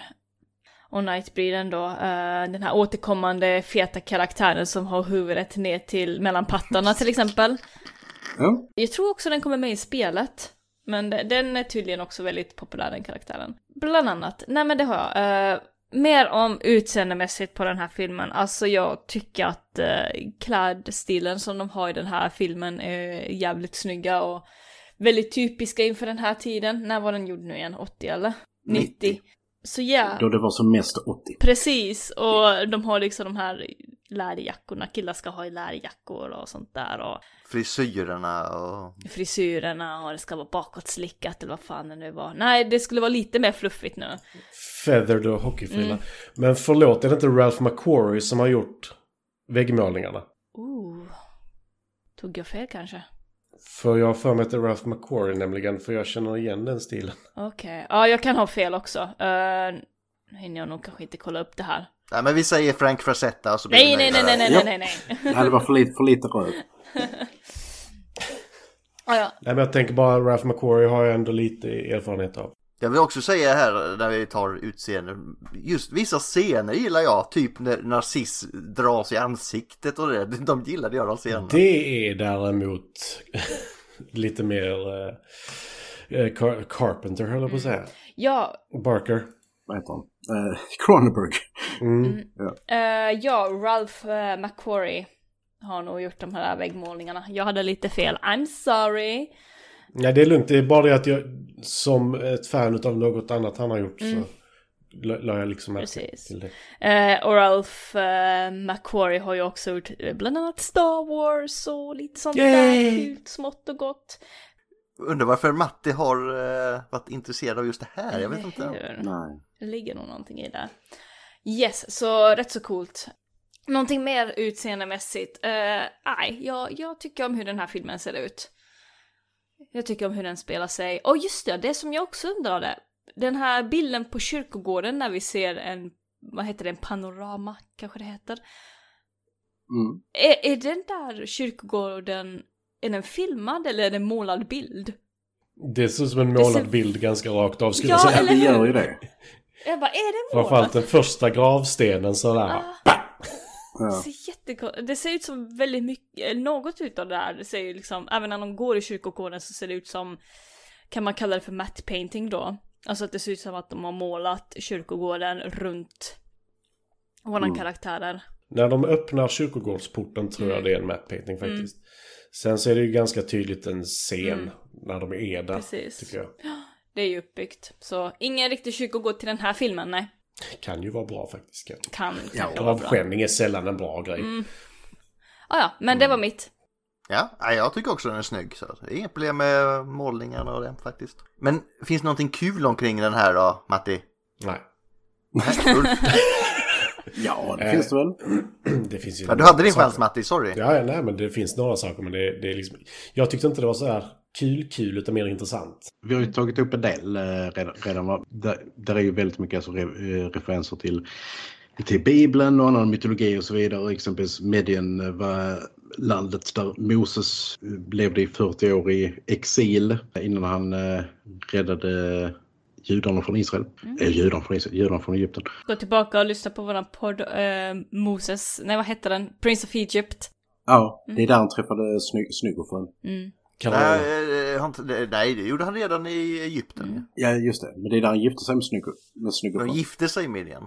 och Nightbreeden då. Eh, den här återkommande feta karaktären som har huvudet ner till mellan pattarna till exempel.
Ja.
Jag tror också den kommer med i spelet. Men de- den är tydligen också väldigt populär den karaktären. Bland annat. Nej men det har jag. Eh, mer om utseendemässigt på den här filmen. Alltså jag tycker att uh, klädstilen som de har i den här filmen är jävligt snygga och väldigt typiska inför den här tiden. När var den gjord nu igen? 80 eller? 90.
90.
Så ja,
Då det var som mest 80.
precis. Och de har liksom de här läderjackorna, killar ska ha i läderjackor och sånt där. Och
Frisyrerna och...
frisyrerna och det ska vara bakåtslickat eller vad fan det nu var. Nej, det skulle vara lite mer fluffigt nu.
Feathered och hockeyfrilla. Men förlåt, är det inte Ralph McQuarrie som har gjort väggmålningarna?
Ooh. Tog jag fel kanske?
För jag har för mig att det är Ralph McQuarrie nämligen, för jag känner igen den stilen.
Okej. Ja, jag kan ha fel också. Uh, nu hinner jag nog kanske inte kolla upp det här.
Nej men vi säger Frank Frazetta och så blir
Nej,
vi
nej, nej,
nöjda.
nej, nej,
Ja.
nej, nej, nej.
Nej, det var för lite, för lite röd.
Ja, ja.
Nej, men jag tänker bara Ralph McQuarrie har jag ändå lite erfarenhet av.
Jag vill också säga här när vi tar utseende, just vissa scener gillar jag, typ när narciss dras i ansiktet och det, de gillade jag de scenerna.
Det är däremot lite mer eh, eh, Car- Carpenter, höll jag på att säga.
ja
Barker.
Vad heter han? Eh, Cronenberg.
Eh, ja, Ralph eh, McQuarrie har nog gjort de här väggmålningarna. Jag hade lite fel. I'm sorry.
Nej, det är lugnt. Det är bara det att jag som ett fan av något annat han har gjort så la la jag liksom märke
Mm. Precis.
till det.
Eh, och Ralph eh, McQuarrie har ju också gjort eh, bland annat Star Wars och lite sånt där
Yay!
kul, smått och gott.
Undrar varför Matti har eh, varit intresserad av just det här, jag vet inte.
Hur?
Nej.
Det ligger nog någonting i det. Yes, så rätt så coolt. Någonting mer utseendemässigt? Eh, Nej, jag, jag tycker om hur den här filmen ser ut. Jag tycker om hur den spelar sig. Och just det, det som jag också undrade. Den här bilden på kyrkogården när vi ser en, vad heter det, en panorama kanske det heter.
Mm.
Är, är den där kyrkogården, är den filmad eller är det en målad bild?
Det ser ut som en
Det ser-
målad bild ganska rakt av skulle
Ja,
jag säga.
Ja,
eller
det gör
hur?
ju det.
Jag bara, är det
Framförallt
målat?
den första gravstenen sådär.
Ah.
Ja.
Det ser jättekonstigt Det ser ut som väldigt mycket, eh, något utav det där. Det ser ju liksom, även när de går i kyrkogården så ser det ut som, kan man kalla det för matte painting då? Alltså att det ser ut som att de har målat kyrkogården runt våra
Mm.
karaktärer.
När de öppnar kyrkogårdsporten tror
Mm.
jag det är en matte painting faktiskt. Sen så är det ju ganska tydligt en scen när de är där.
Mm. Precis.
Tycker jag.
Det är ju uppbyggt. Så ingen riktig kyrkogård till den här filmen, nej.
Kan ju vara bra faktiskt. Kan.
Kan
Ja,
kanske vara bra. Mm. Ah,
är sällan en bra grej.
ja, men
Mm.
det var mitt.
Ja, nej, jag tycker också den är snygg. Så det är inget problem med målningarna och det faktiskt. Men finns det någonting kul omkring den här då, Matti?
Nej.
Nej, Ulf.
Ja,
Eh.
det finns det väl.
Det finns ju
ja, du hade din
saker.
chans Matti, sorry.
Ja, ja, nej, men det finns några saker. Men det, det är liksom... Jag tyckte inte det var så här kul, kul, utan mer intressant.
Vi har ju tagit upp en del eh, redan. redan va? där, där är ju väldigt mycket alltså, re, eh, referenser till, till Bibeln och annan mytologi och så vidare. Exempelvis Medien eh, var landet där Moses eh, levde i 40 år i exil innan han eh, räddade judarna från Israel. Eh, judarna från Israel, judarna från Egypten.
Gå tillbaka och lyssna på våran podd eh, Moses, nej vad hette den? Prince of Egypt.
Ja, det är där han träffade sny Snyggofrön.
Mm.
Kan man...
Nej, eh, han- nej, det gjorde han redan i Egypten. ju.
Ja, just det. Men det är där han gifte sig med, snygg, med
De
Snyggofrön.
gifte sig med igen.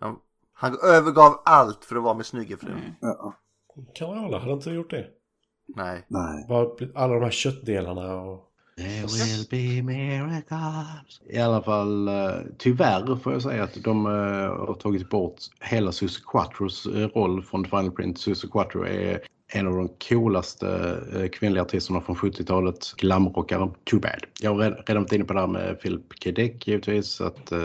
Han, han övergav allt för att vara med snyggefrun.
ja.
Carola hade inte gjort det.
Nej.
Nej.
Bara alla de här köttdelarna och...
There will be miracles. I alla fall, eh, tyvärr får jag säga att de eh, har tagit bort hela Susie Quattros eh, roll från The Final Print. Susie Quattro är en av de coolaste eh, kvinnliga artisterna från 70-talet, glamrockaren. Too bad. Jag har red- redan varit inne på det här med Philip K. Dick givetvis, att eh,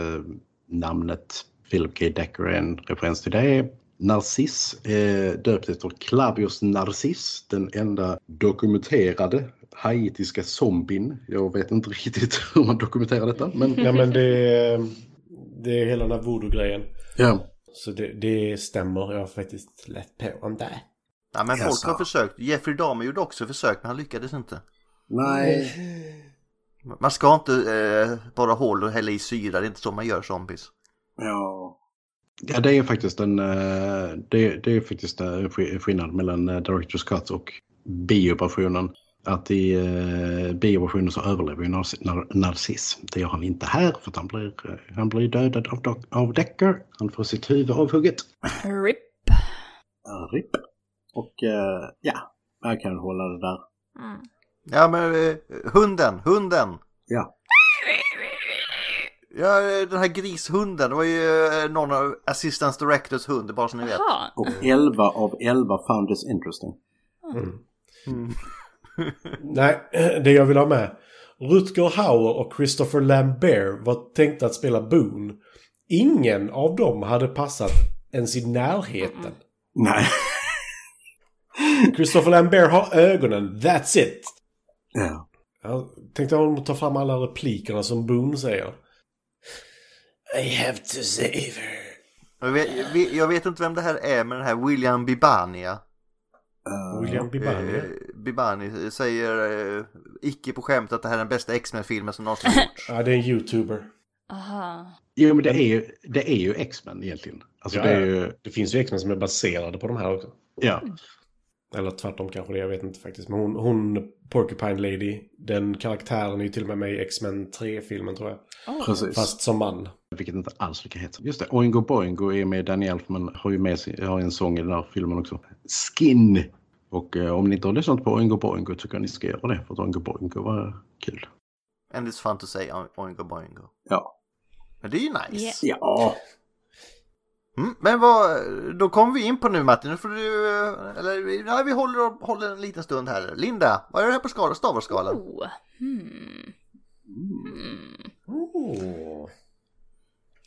namnet Philip K. Decker är en referens till det. Narciss, eh, döpt efter Clavius Narciss, den enda dokumenterade haitiska zombien. Jag vet inte riktigt hur man dokumenterar detta, men
Nej, men det är, det är hela den här voodoo-grejen.
ja.
Så det, det stämmer. Jag har faktiskt lätt på om det.
Ja, men folk
Jaså.
har försökt. Jeffrey Dahmer gjorde också försök, men han lyckades inte.
Nej.
Man ska inte eh, bara hål och hälla i syra, det är inte så man gör zombies.
Ja.
ja, det är faktiskt en, eh, det, det är faktiskt eh, en sk- skillnad mellan eh, Director's Cut och bioversionen. Att i eh, bioversionen så överlever ju Narciss. Nar, Narciss. det gör han inte här för att han blir, eh, han blir dödad av, Doc- av Decker. Han får sitt huvud avhugget.
RIP.
Eh,
RIP. Och eh, ja, jag kan hålla det där.
Ja, men eh, hunden, hunden!
Ja.
Ja, eh, den här grishunden, det var ju eh, någon av Assistance Directors hund, bara så ni vet.
Jaha.
Och 11 av 11 found this interesting.
Nej, det jag vill ha med. Rutger Hauer och Christopher Lambert var tänkta att spela Boone. Ingen av dem hade passat ens i närheten.
Nej.
Christopher Lambert har ögonen, that's it!
Ja.
Jag tänkte att ta fram alla replikerna som Boone säger. I have to save her.
Jag vet, vi- jag vet inte vem det här är, men den här William Bibania.
Eh,
William Bibani.
Eh, Bibani säger eh, icke på skämt att det här är den bästa X-Men-filmen som någonsin gjorts.
Ja, det är en YouTuber.
Aha.
Jo, men det är ju, det är ju X-Men egentligen. Alltså,
Ja,
det är
ja.
ju,
Det finns ju X-Men som är baserade på de här också.
ja.
Eller tvärtom kanske det, jag vet inte faktiskt. Men hon, hon Porcupine Lady, den karaktären är ju till och med med i X-Men 3-filmen tror jag.
Precis.
Fast som man.
Vilket inte alls lika hett. Just det, Oingo Boingo är med Danny Elfman. Har ju med sig, har en sång i den här filmen också. Skin! Och eh, om ni inte har lyssnat på Oingo Boingo tycker jag ni ska göra det. För att Oingo Boingo var kul.
And it's fun to say o- Oingo Boingo.
Ja.
Men det är ju nice.
Yeah.
Ja.
Mm, men vad, då kommer vi in på nu Martin, nu får du, eh, eller nej, vi håller, håller en liten stund här. Linda, vad är det här på skala, stavarskalan?
Oh. Hmm. Hmm.
Oh.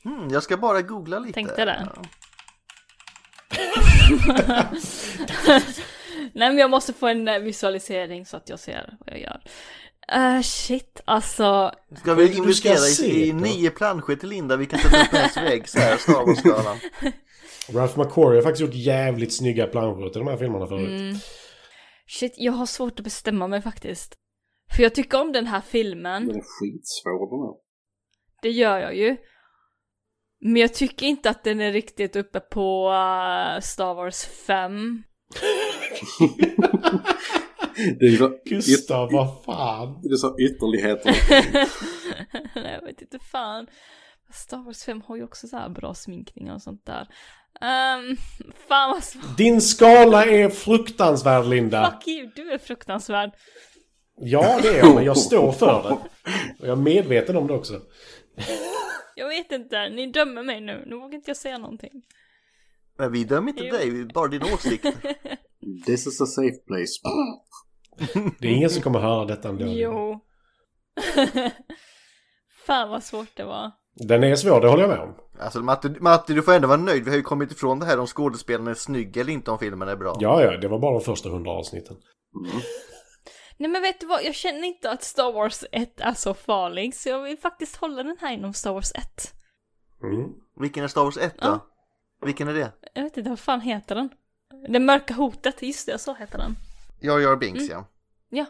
Mm, jag ska bara googla lite.
Oh. Tänkte det.
Ja.
Nej men jag måste få en eh, visualisering så att jag ser vad jag gör. Eh, shit, alltså.
Ska vi
ska
investera
se
i, i
då.
nio planscher till Linda vi kan sätta upp hennes vägg så här, Star Wars-skalan?
Ralph McQuarrie har faktiskt gjort jävligt snygga planscher till de här filmerna förut.
Mm. Shit, jag har svårt att bestämma mig faktiskt. För jag tycker om den här filmen.
Den är skitsvår den här.
Det gör jag ju. Men jag tycker inte att den är riktigt uppe på eh, Star Wars 5.
Det är så, yt,
Gustav, vad fan!
det är så ytterligheter.
Nej, jag vet inte fan. Star Wars 5 har ju också så här bra sminkningar och sånt där. Um, fan vad svårt.
Din skala är fruktansvärd, Linda!
Fuck you, du är fruktansvärd.
Ja, det är jag, men jag står för det. Och jag är medveten om det också.
Jag vet inte, ni dömer mig nu. Nu vågar inte jag säga någonting.
Men vi dömer inte dig, vi- bara din åsikt.
This is a safe place.
Det är ingen som kommer höra detta ändå.
Jo. Fan vad svårt det var.
Den är svår, det håller jag med om.
Alltså Matti, Matti, du får ändå vara nöjd. Vi har ju kommit ifrån det här om skådespelaren är snygg eller inte, om filmen är bra.
Ja, ja, det var bara de första hundra avsnitten.
Nej men vet du vad, jag känner inte att Star Wars 1 är så farlig så jag vill faktiskt hålla den här inom Star Wars 1.
Mm.
Vilken är Star Wars 1 då?
Ja.
Vilken är det?
Jag vet inte, vad fan heter den? Det mörka hotet, just det, så heter den.
Jag gör Binks ja.
Ja.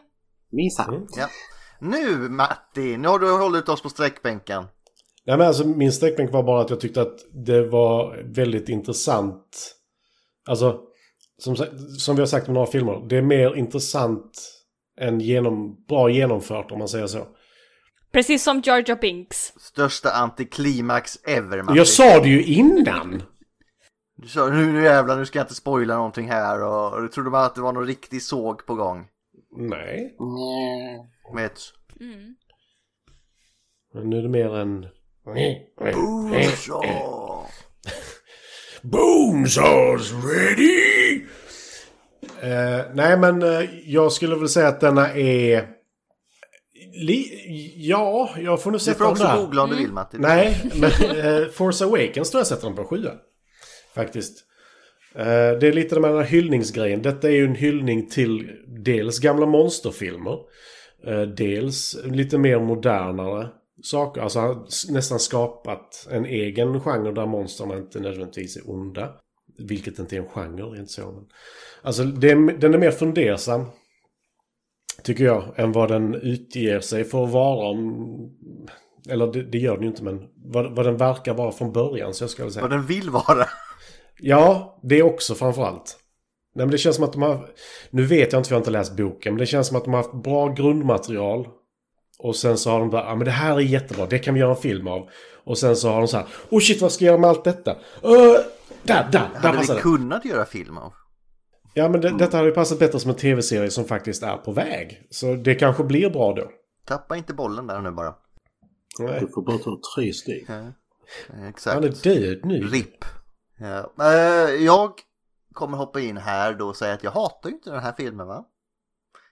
Minsann.
ja. Nu Matti, nu har du hållit oss på sträckbänken.
Nej, men alltså, min sträckbänk var bara att jag tyckte att det var väldigt intressant. Alltså, som, sa- som vi har sagt med några filmer, det är mer intressant än genom, bra genomfört om man säger så.
Precis som Jar Jar Binks.
Största antiklimax ever Matti.
Jag sa det ju innan!
Du sa nu, nu jävlar, nu ska jag inte spoila någonting här och, och du trodde bara att det var någon riktig såg på gång.
Nej,
Med ett
men nu är det mer en...
Boomshaw!
Boomsaws ready! nej, men eh, jag skulle väl säga att denna är... Li- ja, jag får nu
Du
sätta
får också
den där.
googla om du vill Matti.
Nej, men eh, Force Awakens tror jag sätter den på sjua. Faktiskt. Eh, det är lite den här hyllningsgrejen. Detta är ju en hyllning till dels gamla monsterfilmer. eh, dels lite mer modernare saker. Alltså han har s- nästan skapat en egen genre där monstren inte nödvändigtvis är onda. Vilket inte är en genre, rent så. Men... Alltså det är, den är mer fundersam. Tycker jag, än vad den utger sig för att vara om eller det, det gör den ju inte, men vad, vad den verkar vara från början så jag skulle säga.
Vad den vill vara.
Ja, det också framförallt. Nej, men det känns som att de har... Nu vet jag inte för jag har inte läst boken, men det känns som att de har haft bra grundmaterial. Och sen så har de bara, ja men det här är jättebra, det kan vi göra en film av. Och sen så har de så här, oh shit vad ska jag göra med allt detta? Uh, där, där, där
Hade
passar
vi
det.
kunnat göra film av.
Ja men det, detta hade ju passat bättre som en tv-serie som faktiskt är på väg. Så det kanske blir bra då.
Tappa inte bollen där nu bara.
Nej.
Du får bara ta tre steg.
Eh, Exakt.
Han är död nu.
RIP. Ja. Eh, jag kommer hoppa in här då och säga att jag hatar ju inte den här filmen va.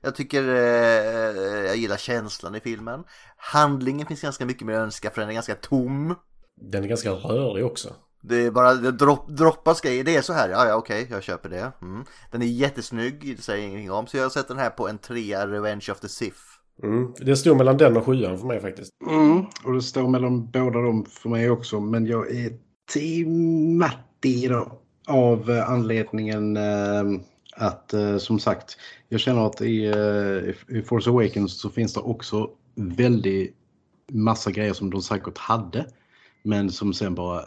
Jag tycker, eh, jag gillar känslan i filmen. Handlingen finns ganska mycket mer att önska för den är ganska tom.
Den är ganska rörig också.
Det är bara, det dropp, droppas grejer. Det är så här, ja ja okej, jag köper det. Mm. Den är jättesnygg, det säger jag ingenting om. Så jag sätter den här på en trea, Revenge of the Sith.
Mm. Det stod mellan den och sjuan för mig faktiskt.
Mm, och det står mellan båda dem för mig också. Men jag är team Matti idag. Av eh, anledningen eh, att eh, som sagt, jag känner att i, eh, i Force Awakens så finns det också väldigt massa grejer som de säkert hade. Men som sen bara,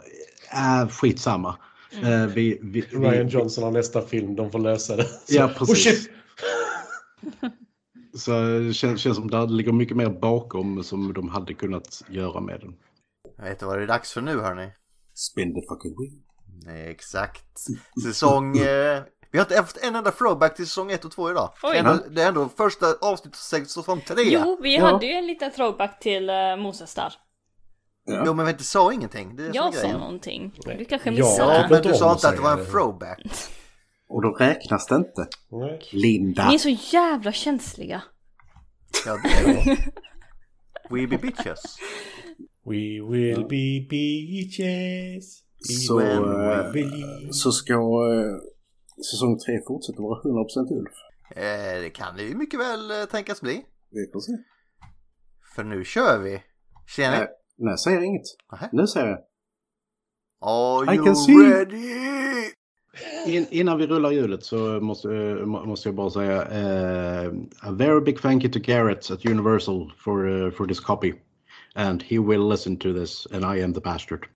äh, skitsamma. Eh, vi, vi, vi,
Ryan Johnson har nästa film, de får lösa det.
Ja,
Så-
precis.
Oh, shit!
Så eh, det känns, känns som det ligger mycket mer bakom som de hade kunnat göra med den.
Jag vet inte vad det är dags för nu hörni.
Spin the fucking wheel.
Nej, exakt. Säsong... Eh, vi har inte haft en enda throwback till säsong 1 och 2 idag.
Oj.
Ändå, det är ändå första avsnittet av säsong 3.
Jo, vi hade ju en liten throwback till uh, Moses där.
Jo, men vi inte sa ingenting. Det är
Jag
som
sa
grejen.
någonting. Du kanske
Ja.
missade.
Ja,
tycker
men
inte
du
om
sa
att
inte att det
säga
var en
det.
throwback.
Och då räknas det inte.
Nej.
Linda.
Ni är så jävla känsliga.
Ja, det är det. We be bitches.
We will be beaches.
Så,
Even
eh,
we will-
Så ska eh, säsong tre fortsätta vara 100% Ulf.
Eh, det kan det ju mycket väl eh, tänkas bli.
Vi får se.
För nu kör vi. Tjena.
Nej. Nej, säger jag inget.
Nähä.
Nu säger jag.
Are
I
you
can see.
ready?
In, innan vi rullar hjulet så måste, eh, må- måste jag bara säga eh, a very big thank you to Garrett at Universal for, eh, for this copy. And he will listen to this and I am the bastard.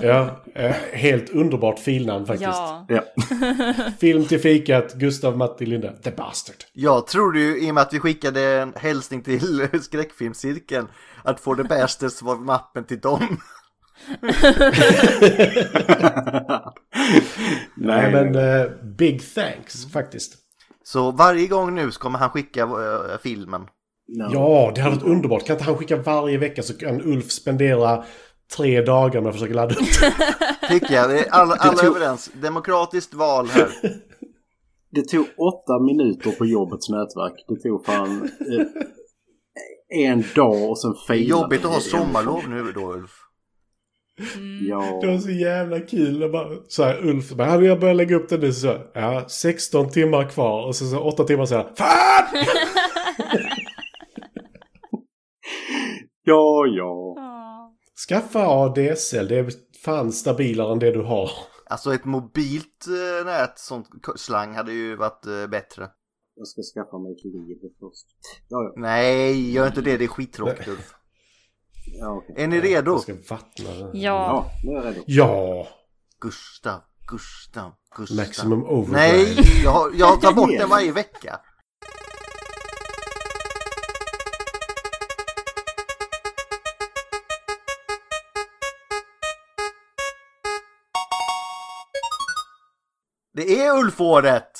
Ja, eh, helt underbart filnamn faktiskt.
Ja.
Ja.
Film till fikat, Gustav, Matti, Linda. The Bastard.
Jag trodde ju i och med att vi skickade en hälsning till skräckfilmscirkeln att få det bästa så var mappen till dem.
Nej, men eh, big thanks faktiskt.
Så varje gång nu så kommer han skicka eh, filmen.
No.
Ja, det hade varit underbart. Kan inte han skicka varje vecka så kan Ulf spendera tre dagar med att försöka ladda upp
Tycker jag. Det är Alla, alla är överens. Demokratiskt val här.
Det tog åtta minuter på jobbets nätverk. Det tog fan eh, en dag och sen Mm.
Det är
failade
jobbigt att ha
det.
sommarlov nu då Ulf.
Ja,
Det
Mm.
var så jävla kul. Och bara, så här, Ulf bara, hade jag börjat lägga upp den nu så, här, ja, 16 timmar kvar. Och sen så 8 timmar senare, FAN!
ja, ja.
Ja.
Skaffa ADSL, det är fan stabilare än det du har.
Alltså ett mobilt eh, nät, sånt k- slang hade ju varit eh, bättre.
Jag ska skaffa mig ett liv först. Ja, ja.
Nej, gör inte det. Det är skittråkigt Ulf.
Ja, okej.
Är ni redo?
Jag ska vattna den.
ja.
ja nu är jag redo.
Ja,
Gustav, Gustav, Gustav.
Maximum Overdrive.
Nej, jag, jag tar bort den varje vecka. Det är Ulfåret!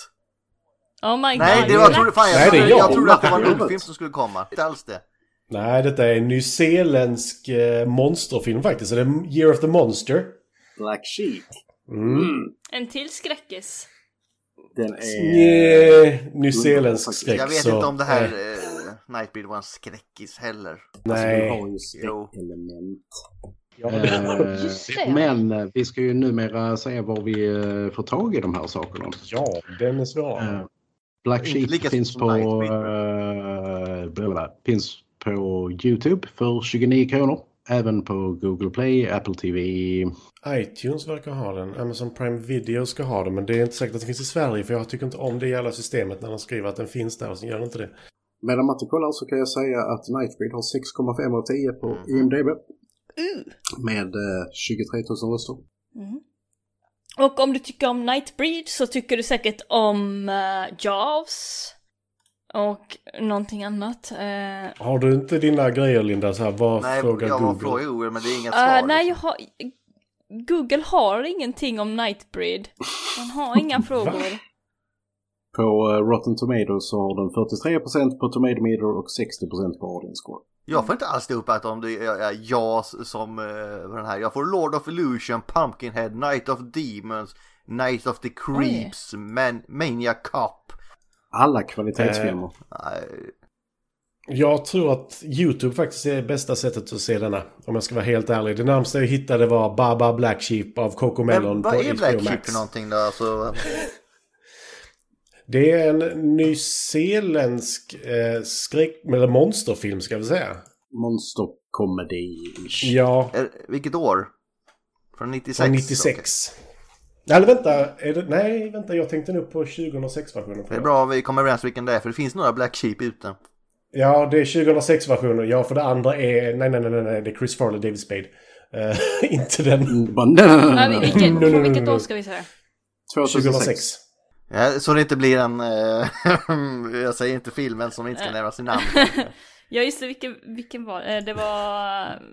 Oh my god.
Nej, det var, jag trodde, fan, jag,
Nej, det är
trodde,
jag.
jag trodde att det var en
Ulfåret.
Ulf-film som skulle komma. Inte alls det.
Nej, detta är en nyzeeländsk eh, monsterfilm faktiskt. Så det är Year of the Monster.
Black Sheep.
Mm.
En till skräckis.
Den är...
Yeah, nyzeeländsk skräck.
Eh, Jag vet
så,
inte om det här
eh,
eh, Nightbreed var en skräckis heller.
Alltså, Den
Alltså,
Nej.
har ju
Jo.
skräckelement.
Eh,
Just det.
Men eh, vi ska ju numera säga var vi eh, får tag i de här sakerna.
Ja, den är svår.
Eh, Black
Inte
Sheep
lika
finns
som
på,
Nightbreed.
eh, blablabla, finns på Youtube för 29 kronor. Även på Google Play, Apple TV.
Eh, iTunes verkar ha den. Amazon Prime Video ska ha den. Men det är inte säkert att den finns i Sverige. För jag tycker inte om det jävla systemet när de skriver att den finns där och sen gör den inte det.
Medan Matte kollar så kan jag säga att Nightbreed har 6,5 av 10 på
Mm.
IMDB. Med eh, 23 000 röster.
Mm. Och om du tycker om Nightbreed så tycker du säkert om eh, Jaws. Och någonting annat. Eh,
Har du inte dina grejer Linda? Så här, vad
Nej,
frågar
jag var
Google?
frågade Google men det är inga
eh,
svar.
nej, jag
liksom.
har... Google har ingenting om Nightbreed. Den har inga frågor.
På eh, Rotten Tomatoes så har den 43% på Tomatometer och 60% på Audience Score.
jag får inte alls det upp att om det är är jag som eh, vad den här. Jag får Lord of Illusion, Pumpkinhead, Night of Demons, Night of the Creeps, Man- Mania Cop.
Alla kvalitetsfilmer.
Nej,
Jag tror att YouTube faktiskt är bästa sättet att se denna. Om jag ska vara helt ärlig. Det närmsta jag hittade var Baba Black Sheep av Coco Melon
Men vad
på
är Black
HBO
Sheep
Max.
för någonting då? Alltså,
Det är en nyzeeländsk eh, skräck... Eller monsterfilm ska vi säga.
Monsterkomedi.
Ja,
är, vilket år? Från 96?
från 96. Nej, eller vänta. Är det, nej, vänta. Jag tänkte nu på 2006-versionen.
Det är bra vi kommer överens vilken det är för det finns några Black Sheep ute.
Ja, det är 2006-versionen. Ja, för det andra är... Nej, nej, nej, nej, nej. Det är Chris Farley, David Spade. Eh, inte den.
Mm, bara, nej, nej, nej,
Nej,
nej, nej.
vilket,
no, no,
från
no,
vilket
no.
år ska vi säga?
2006.
2006.
Ja, så det inte blir en, eh, jag säger inte filmen som inte ska nämna sin namn.
Jag gissar vilken, vilken var det? Eh, Det var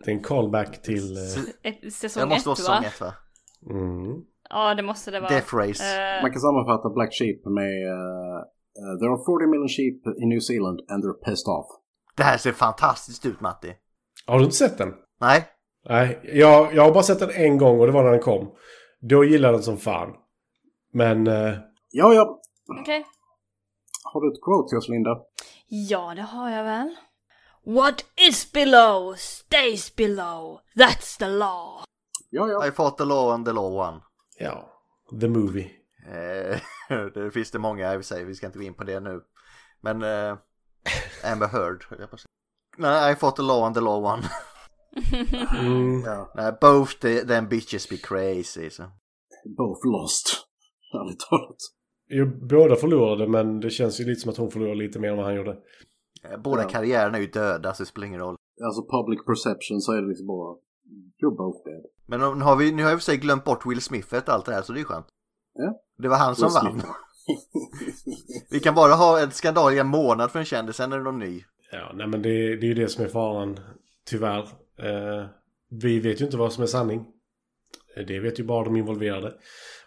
Det är en callback till... eh,
eh, säsong
Jag måste vara
ett, va?
säsong ett va?
Mm.
Ja, det måste det vara.
Death Race.
Eh,
Man kan sammanfatta Black Sheep med eh, eh, There are 40 million sheep in New Zealand and they're pissed off.
Det här ser fantastiskt ut Matti.
Har du inte sett den?
Nej,
Nej, jag, jag har bara sett den en gång och det var när den kom. Då gillade jag den som fan. Men... eh,
Ja, ja.
Okej.
Har du ett quote till oss, Linda?
Ja, det har jag väl.
What is below stays below. That's the law.
Ja, ja.
I fought the law and the law one.
ja. The Movie.
Eh, det finns det många i och för sig, vi ska inte gå in på det nu. Men eh, Amber Heard. höll jag på att säga. Nej, I fought the law and the law one.
Mm.
ja.
Nej, both the, them bitches be crazy. Så.
Both lost. Ärligt talat.
ju- Båda förlorade, men det känns ju lite som att hon förlorade lite mer än vad han gjorde.
Eh, Båda
Ja.
karriärerna är ju döda så det spelar ingen roll.
Alltså public perception så är det liksom bara You're both dead.
Men nu har vi nu har jag i och för sig glömt bort Will Smith och allt det här så det är ju skönt.
Ja.
Det var han som vann. Vi kan bara ha en skandal i en månad för en kändis, sen är det någon ny.
Ja, nej men det, det är ju det som är faran, tyvärr. Eh, vi vet ju inte vad som är sanning. Det vet ju bara de involverade.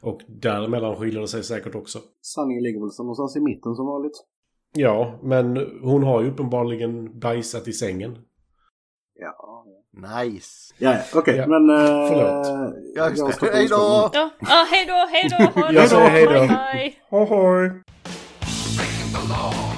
Och däremellan skiljer det sig säkert också.
Sanningen ligger väl någonstans i mitten som vanligt.
Ja, men hon har ju uppenbarligen bajsat i sängen.
Ja,
Nice!
ja, ja, okej.
Ja,
Men... eh,
förlåt.
Jag
har stoppat
Hej då!
inspelningen.
Ja, ah, hej då, hej då, ha det
Jag säger
bra,
hej då.
Bye, bye.
Hoj, hoj!
Breaking the law.